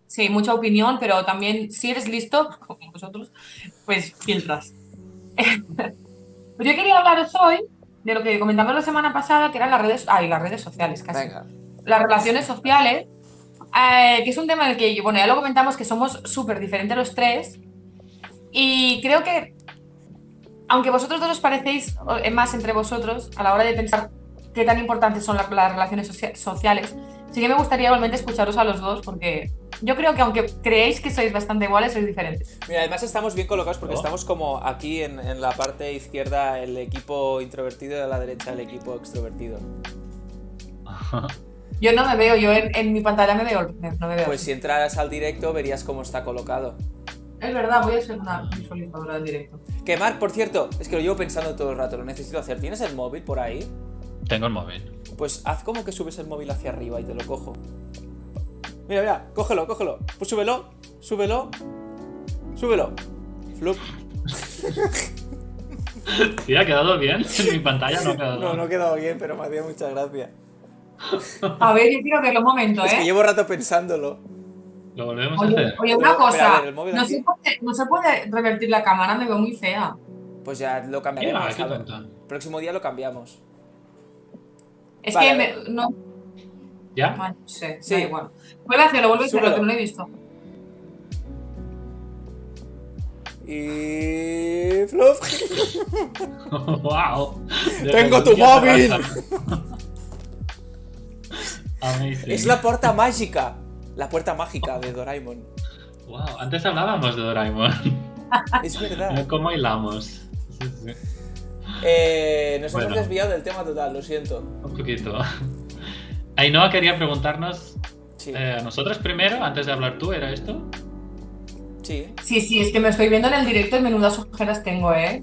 Speaker 3: Sí, mucha opinión, pero también si eres listo, como vosotros, pues filtras. pero yo quería hablaros hoy de lo que comentamos la semana pasada, que eran las redes, ay, las redes sociales, casi
Speaker 1: Venga.
Speaker 3: las relaciones sociales, eh, que es un tema en el que, bueno, ya lo comentamos, que somos súper diferentes los tres. Y creo que, aunque vosotros dos os parecéis eh, más entre vosotros a la hora de pensar qué tan importantes son la- las relaciones socia- sociales, sí que me gustaría igualmente escucharos a los dos, porque yo creo que aunque creéis que sois bastante iguales, sois diferentes.
Speaker 1: Mira, además estamos bien colocados porque
Speaker 2: Oh.
Speaker 1: estamos como aquí en, en la parte izquierda el equipo introvertido y a la derecha el equipo extrovertido.
Speaker 3: Yo no me veo, yo en, en mi pantalla me veo, no me veo.
Speaker 1: Pues si entraras al directo verías cómo está colocado.
Speaker 3: es verdad, voy a ser una visualizadora en directo.
Speaker 1: Que Marc, por cierto, es que lo llevo pensando todo el rato, lo necesito hacer. ¿Tienes el móvil por ahí?
Speaker 2: Tengo el móvil.
Speaker 1: Pues haz como que subes el móvil hacia arriba y te lo cojo. Mira, mira, cógelo, cógelo. Pues súbelo, súbelo, súbelo. Flup.
Speaker 2: Sí, ha quedado bien. En mi pantalla no ha quedado
Speaker 1: No, no ha quedado bien, pero me hacía mucha gracia.
Speaker 3: A ver, yo quiero verlo un momento, ¿eh?
Speaker 1: Es que llevo rato pensándolo.
Speaker 2: Lo volvemos a
Speaker 3: Oye,
Speaker 2: hacer.
Speaker 3: oye, una
Speaker 1: Pero, espera, a
Speaker 3: cosa,
Speaker 1: ver, el móvil
Speaker 3: no
Speaker 1: aquí.
Speaker 3: se, puede, no se puede revertir la cámara, me veo muy fea.
Speaker 1: Pues ya lo
Speaker 2: Mira,
Speaker 1: cambiaremos.
Speaker 2: qué
Speaker 1: a ver.
Speaker 2: tonta.
Speaker 1: Próximo día lo cambiamos.
Speaker 3: Es
Speaker 1: Vale,
Speaker 3: que
Speaker 1: vale.
Speaker 3: me- no,
Speaker 2: ¿Ya?
Speaker 3: bueno, no sé,
Speaker 1: Sí.
Speaker 3: da igual. Vuelve a hacerlo, vuelve a hacerlo,
Speaker 1: Súbelo.
Speaker 3: que no lo he visto.
Speaker 1: Y. Flup.
Speaker 3: Ah.
Speaker 2: ¡Wow!
Speaker 1: Tengo tu móvil.
Speaker 2: Amazing.
Speaker 1: Es la puerta mágica. La puerta mágica de Doraemon.
Speaker 2: Wow, antes hablábamos de Doraemon.
Speaker 1: Es verdad.
Speaker 2: ¿Cómo hilamos? Sí, sí.
Speaker 1: Eh, nos hemos
Speaker 2: Bueno.
Speaker 1: desviado del tema total, lo siento.
Speaker 2: Un poquito. Ainhoa quería preguntarnos
Speaker 1: Sí,
Speaker 2: eh, a nosotros primero, antes de hablar tú, ¿era esto?
Speaker 1: sí.
Speaker 3: Sí, sí, es que me estoy viendo en el directo y menudas ojeras tengo, ¿eh?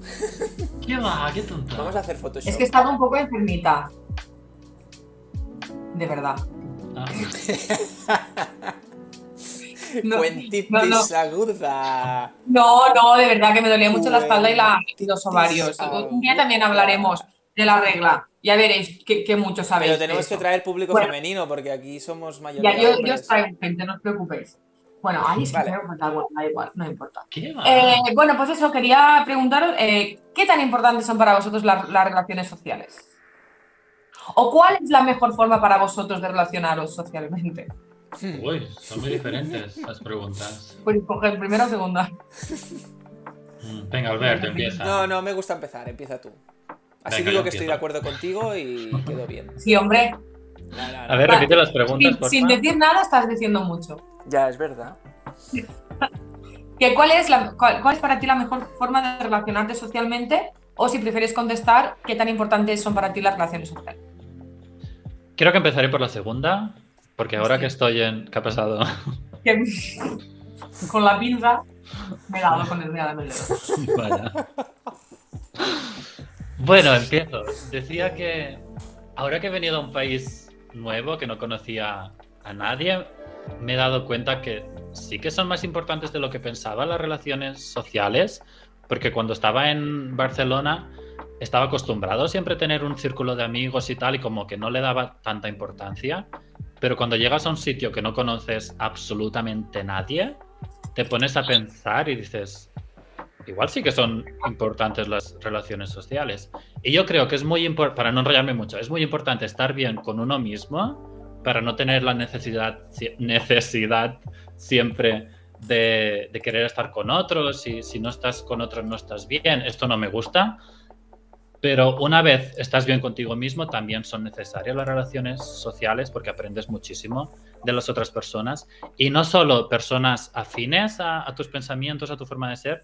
Speaker 2: ¿Qué va? ¿Qué tonta?
Speaker 1: Vamos a hacer Photoshop.
Speaker 3: Es que he estado un poco enfermita. De verdad.
Speaker 2: Ah,
Speaker 3: No,
Speaker 1: Cuentitis
Speaker 3: no, no.
Speaker 1: aguda.
Speaker 3: No, no, de verdad que me dolía mucho la espalda y, la, y los ovarios.
Speaker 1: Cuentitis
Speaker 3: Un día también hablaremos de la regla. Ya veréis que, que mucho sabéis.
Speaker 1: Pero
Speaker 3: de
Speaker 1: tenemos que
Speaker 3: eso.
Speaker 1: traer público
Speaker 3: Bueno.
Speaker 1: femenino porque aquí somos mayoría
Speaker 3: Ya, yo, yo
Speaker 1: hombres.
Speaker 3: os traigo gente, no os preocupéis. Bueno, ahí es que
Speaker 1: Vale.
Speaker 3: me voy a contar, bueno, da igual, no importa.
Speaker 2: ¿Qué va?
Speaker 3: Eh, bueno, pues eso, quería preguntaros, eh, ¿qué tan importantes son para vosotros la- las relaciones sociales? ¿O cuál es la mejor forma para vosotros de relacionaros socialmente?
Speaker 2: Uy, son muy diferentes las preguntas.
Speaker 3: Pues coger primera o segunda.
Speaker 2: Mm, Venga, Alberto, empieza.
Speaker 1: No, no, me gusta empezar, empieza tú. Así
Speaker 2: Venga,
Speaker 1: digo
Speaker 2: yo
Speaker 1: que estoy
Speaker 2: empiezo.
Speaker 1: de acuerdo contigo y quedó bien.
Speaker 3: Sí, hombre,
Speaker 1: No, no, no.
Speaker 2: A ver,
Speaker 3: Va.
Speaker 2: repite las preguntas,
Speaker 3: sin,
Speaker 2: por
Speaker 3: sin decir nada estás diciendo mucho.
Speaker 1: Ya, es verdad.
Speaker 3: ¿Que cuál, es la, cuál, cuál es para ti la mejor forma de relacionarte socialmente? O si prefieres contestar, ¿qué tan importantes son para ti las relaciones sociales?
Speaker 2: Creo que empezaré por la segunda, porque ahora
Speaker 3: Sí.
Speaker 2: que estoy en... ¿Qué ha pasado?
Speaker 3: que con la pinza me he dado con el dedo en el dedo.
Speaker 2: Vaya. Bueno, empiezo. Decía que ahora que he venido a un país nuevo, que no conocía a nadie, me he dado cuenta que sí que son más importantes de lo que pensaba las relaciones sociales, porque cuando estaba en Barcelona estaba acostumbrado siempre a tener un círculo de amigos y tal, y como que no le daba tanta importancia, pero cuando llegas a un sitio que no conoces absolutamente nadie, te pones a pensar y dices, igual sí que son importantes las relaciones sociales. Y yo creo que es muy importante, para no enrollarme mucho, es muy importante estar bien con uno mismo para no tener la necesidad, si- necesidad siempre de, de querer estar con otros. Y si no estás con otros, no estás bien. Esto no me gusta. Pero una vez estás bien contigo mismo, también son necesarias las relaciones sociales porque aprendes muchísimo de las otras personas. Y no solo personas afines a- a tus pensamientos, a tu forma de ser,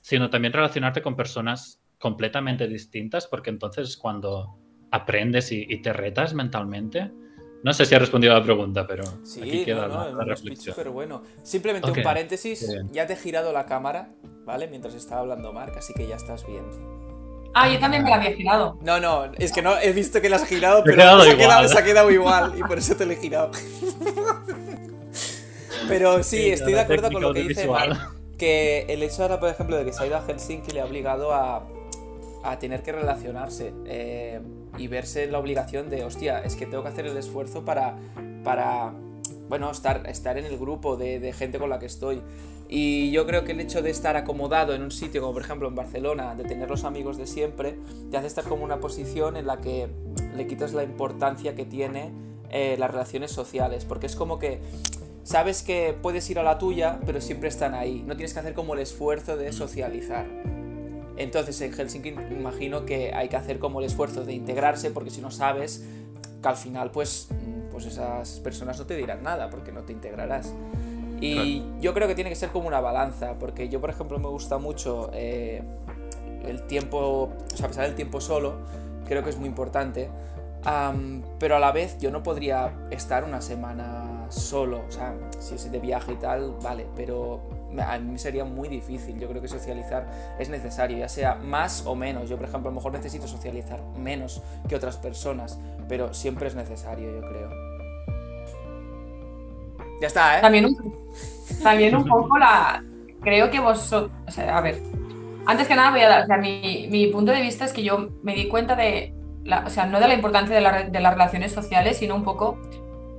Speaker 2: sino también relacionarte con personas completamente distintas, porque entonces cuando aprendes y, y te retas mentalmente, no sé si he respondido a la pregunta, pero aquí
Speaker 1: Sí,
Speaker 2: queda
Speaker 1: no, no,
Speaker 2: la,
Speaker 1: un
Speaker 2: la
Speaker 1: speech
Speaker 2: reflexión.
Speaker 1: súper bueno. Simplemente
Speaker 2: Ok.
Speaker 1: un paréntesis,
Speaker 2: Bien.
Speaker 1: ya te he girado la cámara, ¿vale? Mientras estaba hablando Marc, así que ya estás bien.
Speaker 3: Ah, yo también me la había girado.
Speaker 1: No, no, es que no he visto que la has girado,
Speaker 2: Me he
Speaker 1: pero
Speaker 2: quedado
Speaker 1: se, ha quedado,
Speaker 2: igual.
Speaker 1: se ha quedado igual y por eso te lo he girado. pero sí, estoy de acuerdo con lo que dice Marc, que el hecho ahora, por ejemplo, de que se ha ido a Helsinki le ha obligado a, a tener que relacionarse eh, y verse en la obligación de, hostia, es que tengo que hacer el esfuerzo para, para bueno, estar, estar en el grupo de, de gente con la que estoy. Y yo creo que el hecho de estar acomodado en un sitio como por ejemplo en Barcelona, de tener los amigos de siempre, te hace estar como una posición en la que le quitas la importancia que tiene eh, las relaciones sociales, porque es como que sabes que puedes ir a la tuya, pero siempre están ahí, no tienes que hacer como el esfuerzo de socializar. Entonces en Helsinki imagino que hay que hacer como el esfuerzo de integrarse, porque si no sabes, que al final pues, pues esas personas no te dirán nada, porque no te integrarás. Y claro. yo creo que tiene que ser como una balanza, porque yo, por ejemplo, me gusta mucho eh, el tiempo, o sea, pasar el tiempo solo, creo que es muy importante, um, pero a la vez yo no podría estar una semana solo, o sea, si es de viaje y tal, vale, pero a mí sería muy difícil, yo creo que socializar es necesario, ya sea más o menos, yo por ejemplo a lo mejor necesito socializar menos que otras personas, pero siempre es necesario, yo creo. Ya está, ¿eh?
Speaker 3: También un, también un poco la. Creo que vos. O sea, a ver. Antes que nada, voy a dar. O sea, mi, mi punto de vista es que yo me di cuenta de. La, o sea, no de la importancia de, la, de, las relaciones sociales, sino un poco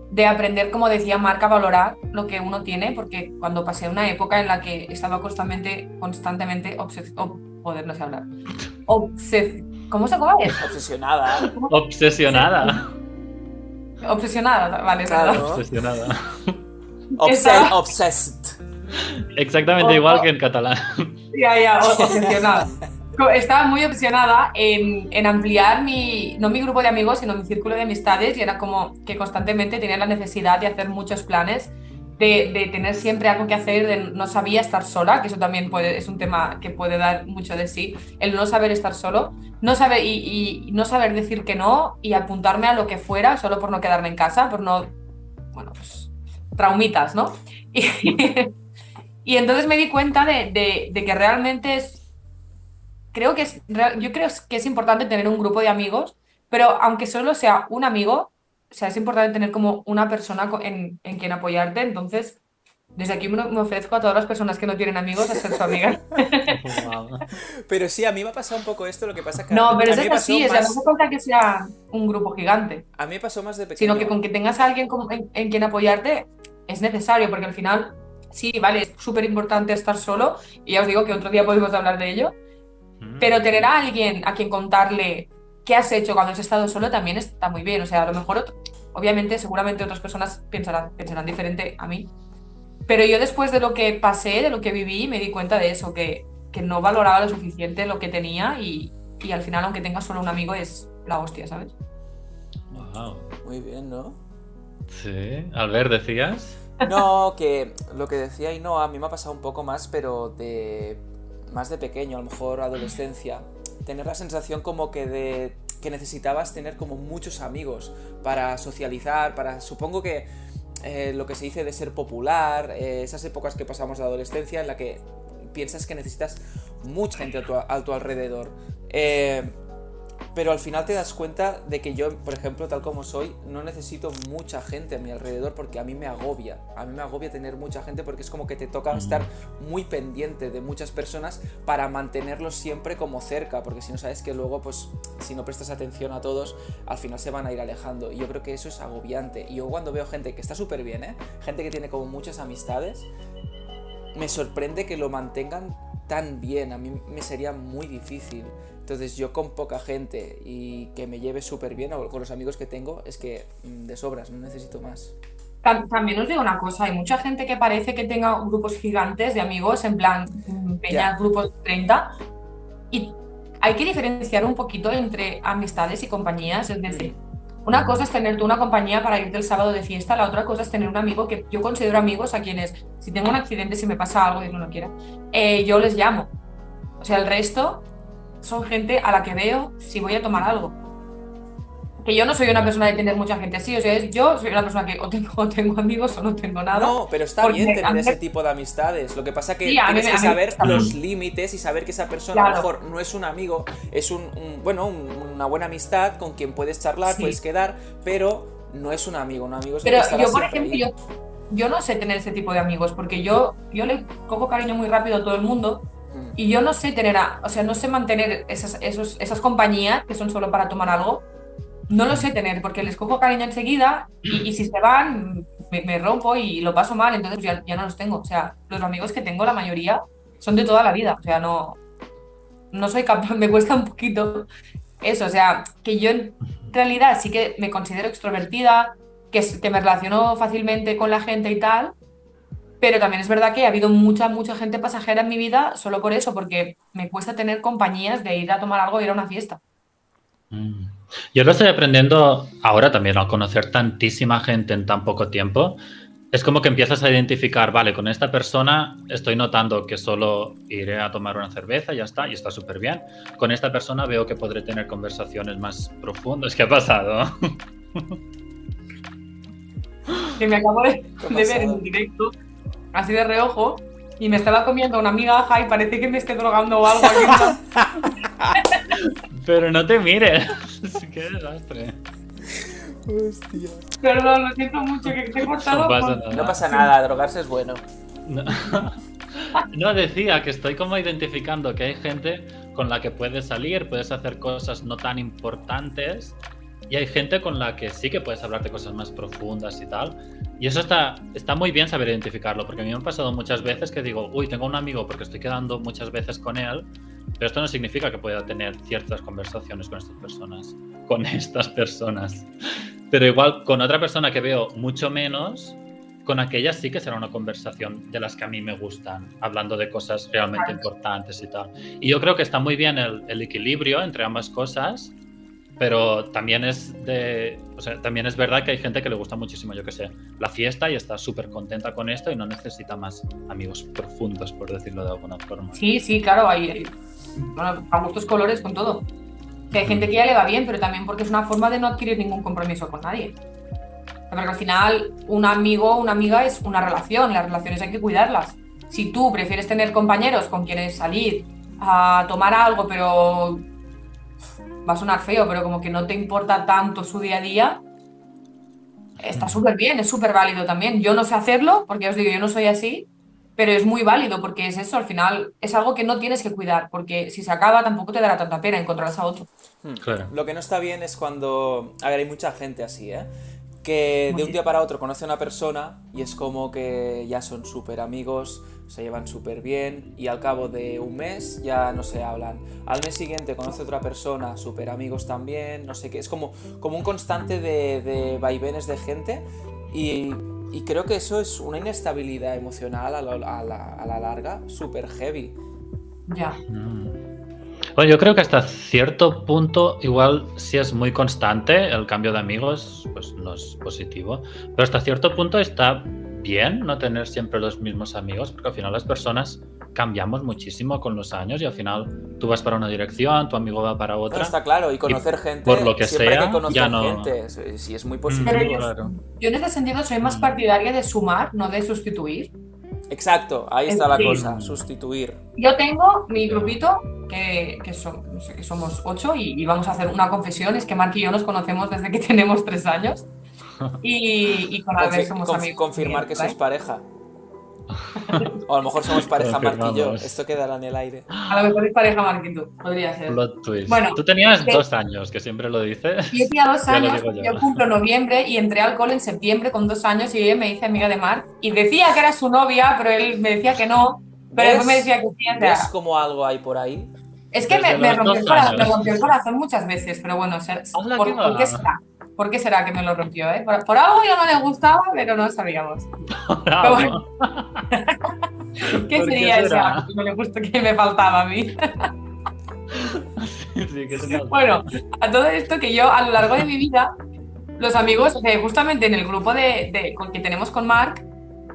Speaker 3: de aprender, como decía Marca, a valorar lo que uno tiene, porque cuando pasé una época en la que estaba constantemente, constantemente obses, ob, joder, no sé hablar. Obses, ¿Cómo se acaba eso?
Speaker 1: Obsesionada.
Speaker 2: Obsesionada.
Speaker 3: Obsesionada, vale, claro.
Speaker 2: Nada. Obsesionada.
Speaker 1: Obsessed. obsessed.
Speaker 2: Exactamente o, igual que en catalán.
Speaker 3: Ya, ya, obsesionada. Estaba muy obsesionada en, en, ampliar mi, no mi grupo de amigos, sino mi círculo de amistades y era como que constantemente tenía la necesidad de hacer muchos planes, de, de, tener siempre algo que hacer, de no sabía estar sola, que eso también puede, es un tema que puede dar mucho de sí, el no saber estar solo, no saber, y, y no saber decir que no y apuntarme a lo que fuera solo por no quedarme en casa, por no, bueno, pues traumitas, ¿no? Y, y, entonces me di cuenta de, de, de, que realmente es, creo que es, yo creo que es importante tener un grupo de amigos, pero aunque solo sea un amigo, o sea, es importante tener como una persona en, en quien apoyarte, entonces... Desde aquí me ofrezco a todas las personas que no tienen amigos a ser su amiga.
Speaker 1: pero sí, a mí me ha pasado un poco esto, lo que pasa que...
Speaker 3: No, pero eso es así, más... o sea, no hace falta que sea un grupo gigante.
Speaker 1: A mí me pasó más de pequeño.
Speaker 3: Sino que con que tengas a alguien en, en quien apoyarte es necesario, porque al final, sí, vale, es súper importante estar solo, y ya os digo que otro día podemos hablar de ello, mm. pero tener a alguien a quien contarle qué has hecho cuando has estado solo también está muy bien, o sea, a lo mejor, otro, obviamente, seguramente otras personas pensarán, pensarán diferente a mí. Pero yo después de lo que pasé, de lo que viví, me di cuenta de eso, que, que no valoraba lo suficiente lo que tenía y, y, al final, aunque tengas solo un amigo, es la hostia, ¿sabes?
Speaker 2: Wow.
Speaker 1: Muy bien, ¿no?
Speaker 2: Sí. Albert, ¿decías?
Speaker 1: No, que lo que decía y no, a mí me ha pasado un poco más, pero de más de pequeño, a lo mejor adolescencia, tener la sensación como que de que necesitabas tener como muchos amigos para socializar, para supongo que eh, lo que se dice de ser popular, eh, esas épocas que pasamos de adolescencia en la que piensas que necesitas mucha gente a tu, a tu alrededor. Eh, pero al final te das cuenta de que yo, por ejemplo, tal como soy, no necesito mucha gente a mi alrededor porque a mí me agobia. A mí me agobia tener mucha gente porque es como que te toca estar muy pendiente de muchas personas para mantenerlos siempre como cerca, porque si no sabes que luego, pues, si no prestas atención a todos, al final se van a ir alejando. Y yo creo que eso es agobiante. Y yo cuando veo gente que está súper bien, ¿eh? Gente que tiene como muchas amistades, me sorprende que lo mantengan tan bien. A mí me sería muy difícil. Entonces yo con poca gente y que me lleve súper bien o con los amigos que tengo es que mm, de sobras, no necesito más.
Speaker 3: También os digo una cosa, hay mucha gente que parece que tenga grupos gigantes de amigos, en plan, peñas, yeah. grupos de 30, y hay que diferenciar un poquito entre amistades y compañías, es decir, una cosa es tener tú una compañía para irte el sábado de fiesta, la otra cosa es tener un amigo que yo considero amigos a quienes, si tengo un accidente, si me pasa algo y no lo quiera, eh, yo les llamo. O sea, el resto son gente a la que veo si voy a tomar algo. Que yo no soy una persona de tener mucha gente así, o sea, yo soy una persona que o tengo, o tengo amigos o no tengo nada.
Speaker 1: No, pero está bien tener mí... ese tipo de amistades. Lo que pasa que sí, tienes mí, que saber mí... los límites y saber que esa persona claro. a lo mejor no es un amigo, es un, un bueno, un, una buena amistad con quien puedes charlar, sí. puedes quedar, pero no es un amigo, un amigo es
Speaker 3: Pero yo, por ejemplo, yo, yo, no sé tener ese tipo de amigos porque yo, yo le cojo cariño muy rápido a todo el mundo
Speaker 1: Mm.
Speaker 3: Y yo no sé tener, a- o sea, no sé mantener esas, esos- esas compañías que son solo para tomar algo. No lo sé tener porque les cojo cariño enseguida y, y si se van me, me rompo y lo paso mal, entonces ya, ya no los tengo. O sea, los amigos que tengo, la mayoría, son de toda la vida. O sea, no, no soy capaz, me cuesta un poquito eso. O sea, que yo en realidad sí que me considero extrovertida, que, s- que me relaciono fácilmente con la gente y tal, pero también es verdad que ha habido mucha, mucha gente pasajera en mi vida solo por eso, porque me cuesta tener compañías de ir a tomar algo y ir a una fiesta.
Speaker 2: Mm. Yo lo estoy aprendiendo ahora también, al conocer tantísima gente en tan poco tiempo. Es como que empiezas a identificar, vale, con esta persona estoy notando que solo iré a tomar una cerveza, ya está, y está súper bien. Con esta persona veo que podré tener conversaciones más profundas. ¿Qué ha pasado?
Speaker 3: Que me acabo de,
Speaker 1: ¿Qué ha
Speaker 3: de ver en
Speaker 1: pasado?
Speaker 3: un directo, así de reojo, y me estaba comiendo una migaja y parece que me esté drogando o algo. aquí.
Speaker 2: Pero no te mires. Qué desastre.
Speaker 1: Hostia.
Speaker 3: Perdón, lo siento mucho, que te he cortado.
Speaker 2: No pasa
Speaker 3: con-
Speaker 2: nada.
Speaker 1: No pasa nada, drogarse es bueno.
Speaker 2: No. No, decía que estoy como identificando que hay gente con la que puedes salir, puedes hacer cosas no tan importantes y hay gente con la que sí que puedes hablar de cosas más profundas y tal. Y eso está, está muy bien saber identificarlo, porque a mí me han pasado muchas veces que digo, uy, tengo un amigo porque estoy quedando muchas veces con él, pero esto no significa que pueda tener ciertas conversaciones con estas personas, con estas personas. Pero igual con otra persona que veo mucho menos, con aquellas sí que será una conversación de las que a mí me gustan, hablando de cosas realmente importantes y tal. Y yo creo que está muy bien el, el equilibrio entre ambas cosas, pero también es de, o sea, también es verdad que hay gente que le gusta muchísimo, yo que sé, la fiesta y está súper contenta con esto y no necesita más amigos profundos, por decirlo de alguna forma.
Speaker 3: Sí, sí, claro, hay, hay- bueno, a gustos colores con todo. Que hay gente que ya le va bien, pero también porque es una forma de no adquirir ningún compromiso con nadie. Porque al final, un amigo o una amiga es una relación, las relaciones hay que cuidarlas. Si tú prefieres tener compañeros con quienes salir a tomar algo, pero va a sonar feo, pero como que no te importa tanto su día a día, está súper bien, es súper válido también. Yo no sé hacerlo, porque ya os digo, yo no soy así, pero es muy válido porque es eso, al final es algo que no tienes que cuidar, porque si se acaba tampoco te dará tanta pena encontrarás a otro.
Speaker 1: Hmm.
Speaker 2: Claro.
Speaker 1: Lo que no está bien es cuando. A ver, hay mucha gente así, ¿eh? Que de un día para otro conoce a una persona y es como que ya son súper amigos, se llevan súper bien y al cabo de un mes ya no se hablan. Al mes siguiente conoce a otra persona, súper amigos también, no sé qué. Es como, como un constante de, de vaivenes de gente y, y creo que eso es una inestabilidad emocional a, lo- a la, a la larga súper heavy.
Speaker 3: Ya.
Speaker 2: Mm. Bueno, yo creo que hasta cierto punto, igual si es muy constante el cambio de amigos, pues no es positivo. Pero hasta cierto punto está bien no tener siempre los mismos amigos, porque al final las personas cambiamos muchísimo con los años y al final tú vas para una dirección, tu amigo va para
Speaker 1: Bueno,
Speaker 2: otra.
Speaker 1: está claro, y conocer gente,
Speaker 2: por lo que
Speaker 1: siempre hay
Speaker 2: sea,
Speaker 1: que
Speaker 2: ya
Speaker 1: conocer
Speaker 2: no- Mm.
Speaker 1: gente, si si es muy
Speaker 3: Pero
Speaker 1: positivo.
Speaker 3: yo-
Speaker 2: claro.
Speaker 3: Yo en ese sentido soy más
Speaker 2: Mm.
Speaker 3: partidaria de sumar, no de sustituir.
Speaker 1: Exacto, ahí está la
Speaker 3: Sí.
Speaker 1: cosa, sustituir.
Speaker 3: Yo tengo mi grupito, que, que, son- no sé, que somos ocho, y, y vamos a hacer una confesión, es que Mark y yo nos conocemos desde que tenemos tres años. Y, y con Albert
Speaker 1: Confi-
Speaker 3: somos
Speaker 1: conf-
Speaker 3: amigos.
Speaker 1: confirmar que
Speaker 3: ¿vale?
Speaker 1: sois pareja. O a lo mejor somos pareja Mark y yo.
Speaker 2: Confirmamos.
Speaker 1: Esto quedará en el aire.
Speaker 3: A lo mejor es pareja Mark y tú, podría ser.
Speaker 2: Plot twist.
Speaker 3: Bueno,
Speaker 2: tú tenías
Speaker 3: que-
Speaker 2: dos años, que siempre lo dices.
Speaker 3: Yo tenía dos
Speaker 2: Ya lo
Speaker 3: años,
Speaker 2: digo yo.
Speaker 3: yo cumplo noviembre y entré al cole en septiembre con dos años y ella me hice amiga de Marc. Y decía que era su novia, pero él me decía que no. Pero después me decía que sí. o sea,
Speaker 1: ¿Ves cómo algo hay por ahí?
Speaker 3: es que me,
Speaker 2: Desde
Speaker 3: me
Speaker 2: los
Speaker 3: rompió
Speaker 2: dos
Speaker 3: el corazón, me
Speaker 2: años.
Speaker 3: rompió el corazón muchas veces, pero bueno, o sea,
Speaker 2: Hola,
Speaker 3: ¿por,
Speaker 2: qué
Speaker 3: por qué
Speaker 2: va.
Speaker 3: será? ¿Por qué será que me lo rompió? eh? Por, por algo yo no le gustaba, pero no sabíamos.
Speaker 2: Bravo.
Speaker 3: ¿Qué
Speaker 2: ¿Por qué
Speaker 3: sería ese
Speaker 2: será?
Speaker 3: algo que no le gustó que me faltaba a mí?
Speaker 2: Sí, que te-
Speaker 3: Bueno, a todo esto que yo a lo largo de mi vida, los amigos, o sea, justamente en el grupo de, de- con- que tenemos con Mark,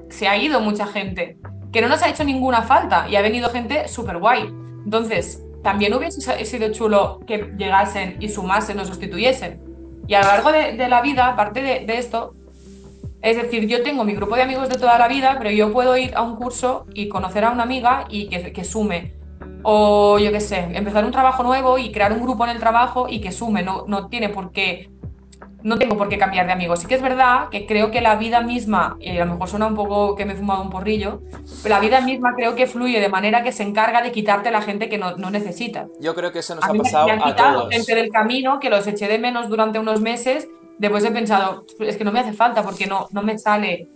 Speaker 3: se ha ido mucha gente, que no nos ha hecho ninguna falta y ha venido gente súper guay. Entonces, también hubiese sa- sido chulo que llegasen y sumasen o sustituyesen. Y a lo largo de, de la vida, aparte de, de esto, es decir, yo tengo mi grupo de amigos de toda la vida, pero yo puedo ir a un curso y conocer a una amiga y que, que sume. O yo qué sé, empezar un trabajo nuevo y crear un grupo en el trabajo y que sume. No, no tiene por qué no tengo por qué cambiar de amigos. Sí que es verdad que creo que la vida misma, y a lo mejor suena un poco que me he fumado un porrillo, pero la vida misma creo que fluye de manera que se encarga de quitarte la gente que no, no necesitas.
Speaker 1: Yo creo que eso nos
Speaker 3: A
Speaker 1: ha
Speaker 3: mí me-
Speaker 1: pasado
Speaker 3: me han
Speaker 1: a
Speaker 3: quitado
Speaker 1: todos.
Speaker 3: gente del camino que los eché de menos durante unos meses. Después he pensado, es que no me hace falta porque no, no me sale.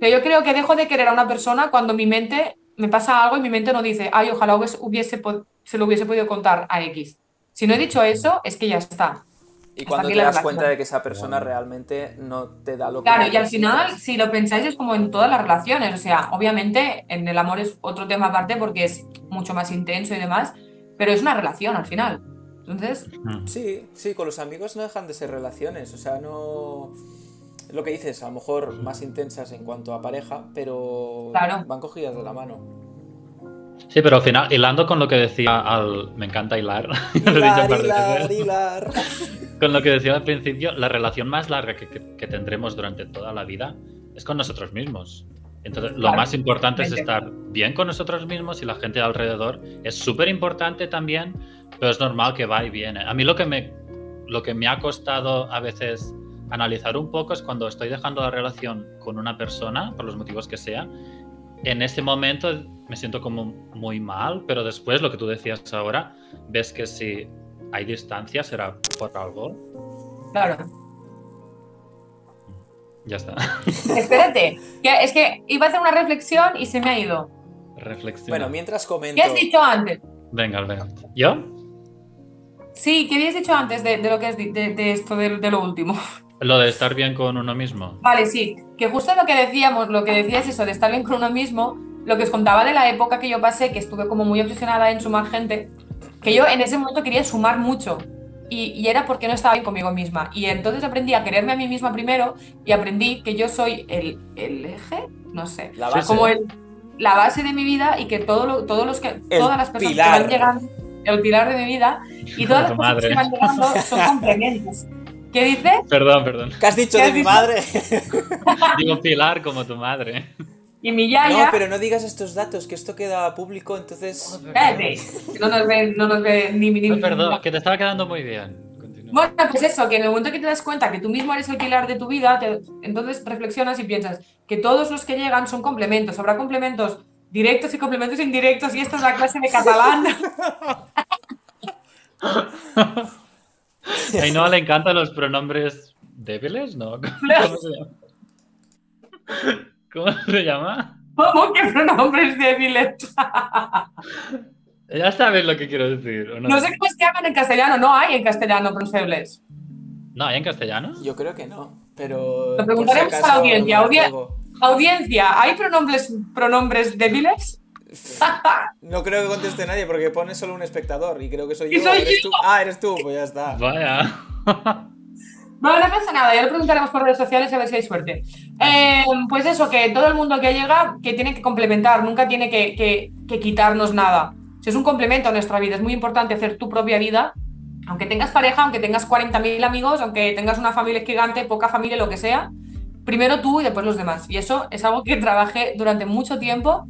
Speaker 3: Pero yo creo que dejo de querer a una persona cuando mi mente me pasa algo y mi mente no dice, ay, ojalá hubiese, hubiese pod- se lo hubiese podido contar a X. Si no he dicho eso, es que ya está.
Speaker 1: Y
Speaker 3: Hasta
Speaker 1: cuando
Speaker 3: aquí
Speaker 1: te
Speaker 3: la
Speaker 1: das
Speaker 3: relación.
Speaker 1: cuenta de que esa persona realmente no te da lo que
Speaker 3: Claro, y al
Speaker 1: necesitas.
Speaker 3: final, si lo pensáis, es como en todas las relaciones. O sea, obviamente en el amor es otro tema aparte porque es mucho más intenso y demás, pero es una relación al final. Entonces,
Speaker 2: Mm.
Speaker 1: Sí, sí, con los amigos no dejan de ser relaciones, o sea, no... Lo que dices, a lo mejor más intensas en cuanto a pareja, pero
Speaker 3: Claro.
Speaker 1: van cogidas de la mano.
Speaker 2: Sí, pero al final, hilando con lo que decía al. Me encanta hilar. Ya lo he dicho un par de veces.
Speaker 1: hilar.
Speaker 2: Con lo que decía al principio, la relación más larga que, que- que tendremos durante toda la vida es con nosotros mismos. Entonces, lo
Speaker 3: Claro,
Speaker 2: más importante es
Speaker 3: totalmente.
Speaker 2: estar bien con nosotros mismos y la gente de alrededor es súper importante también, pero es normal que va y viene. A mí lo que, me, lo que me ha costado a veces analizar un poco es cuando estoy dejando la relación con una persona, por los motivos que sea, en ese momento me siento como muy mal, pero después lo que tú decías ahora, ves que si hay distancia será por algo.
Speaker 3: claro.
Speaker 2: Ya está.
Speaker 3: Espérate, que es que iba a hacer una reflexión y se me ha ido.
Speaker 2: Reflexión.
Speaker 1: Bueno, mientras comento...
Speaker 3: ¿Qué has dicho antes?
Speaker 2: Venga, venga. ¿Yo?
Speaker 3: Sí, ¿qué habías dicho antes de, de lo que has di- de, de esto de, de lo último?
Speaker 2: Lo de estar bien con uno mismo.
Speaker 3: Vale, sí, que justo lo que decíamos, lo que decías eso de estar bien con uno mismo, lo que os contaba de la época que yo pasé, que estuve como muy obsesionada en sumar gente, que yo en ese momento quería sumar mucho. Y, y era porque no estaba bien conmigo misma. Y entonces aprendí a quererme a mí misma primero y aprendí que yo soy el, el eje, no sé,
Speaker 1: La
Speaker 2: Sí,
Speaker 1: base.
Speaker 3: como el- la base de mi vida y que todo lo- todos los que, todas las personas
Speaker 1: pilar.
Speaker 3: que van llegando, el pilar de mi vida y todas las
Speaker 2: tu
Speaker 3: personas que
Speaker 2: madre.
Speaker 3: van llegando son complementos. ¿Qué dices?
Speaker 2: Perdón, perdón.
Speaker 1: ¿Qué has dicho
Speaker 3: ¿Qué
Speaker 1: de
Speaker 3: has
Speaker 1: mi
Speaker 3: dicho?
Speaker 1: madre?
Speaker 2: Digo Pilar como tu madre.
Speaker 3: Y mi yaya.
Speaker 1: No, pero no digas estos datos, que esto queda público, entonces...
Speaker 3: Cállate, que no nos ve, no nos ve ni, ni-
Speaker 2: No, perdón, que te estaba quedando muy bien. Continúa.
Speaker 3: Bueno, pues eso, que en el momento que te das cuenta que tú mismo eres el pilar de tu vida, te- entonces reflexionas y piensas que todos los que llegan son complementos. Habrá complementos directos y complementos indirectos, y esta es la clase de catalán.
Speaker 2: A Ainhoa le encantan los pronombres débiles, ¿no? ¿Cómo se llama? ¿Cómo se llama?
Speaker 3: ¿Cómo que pronombres débiles?
Speaker 2: Ya sabes lo que quiero decir. ¿o no?
Speaker 3: No sé cómo se llaman en castellano, no hay en castellano pronombres débiles.
Speaker 2: No, ¿hay en castellano?
Speaker 1: Yo creo que no, pero...
Speaker 3: Lo
Speaker 1: por si
Speaker 3: preguntaremos a la
Speaker 1: acaso,
Speaker 3: audiencia,
Speaker 1: me
Speaker 3: audien-
Speaker 1: juego.
Speaker 3: Audiencia, ¿hay pronombres, pronombres débiles?
Speaker 1: No creo que conteste nadie porque pone solo un espectador y creo que soy
Speaker 3: Y
Speaker 1: yo.
Speaker 3: soy
Speaker 1: ¿Eres
Speaker 3: yo.
Speaker 1: tú? Ah, eres tú, pues ya está.
Speaker 2: Vaya.
Speaker 3: Bueno, no pasa nada, ya lo preguntaremos por redes sociales a ver si hay
Speaker 1: Ah,
Speaker 3: suerte. Eh, pues eso, que todo el mundo que llega, que tiene que complementar, nunca tiene que, que- que quitarnos nada. Si es un complemento a nuestra vida, es muy importante hacer tu propia vida, aunque tengas pareja, aunque tengas 40.000 amigos, aunque tengas una familia gigante, poca familia, lo que sea, primero tú y después los demás. Y eso es algo que trabajé durante mucho tiempo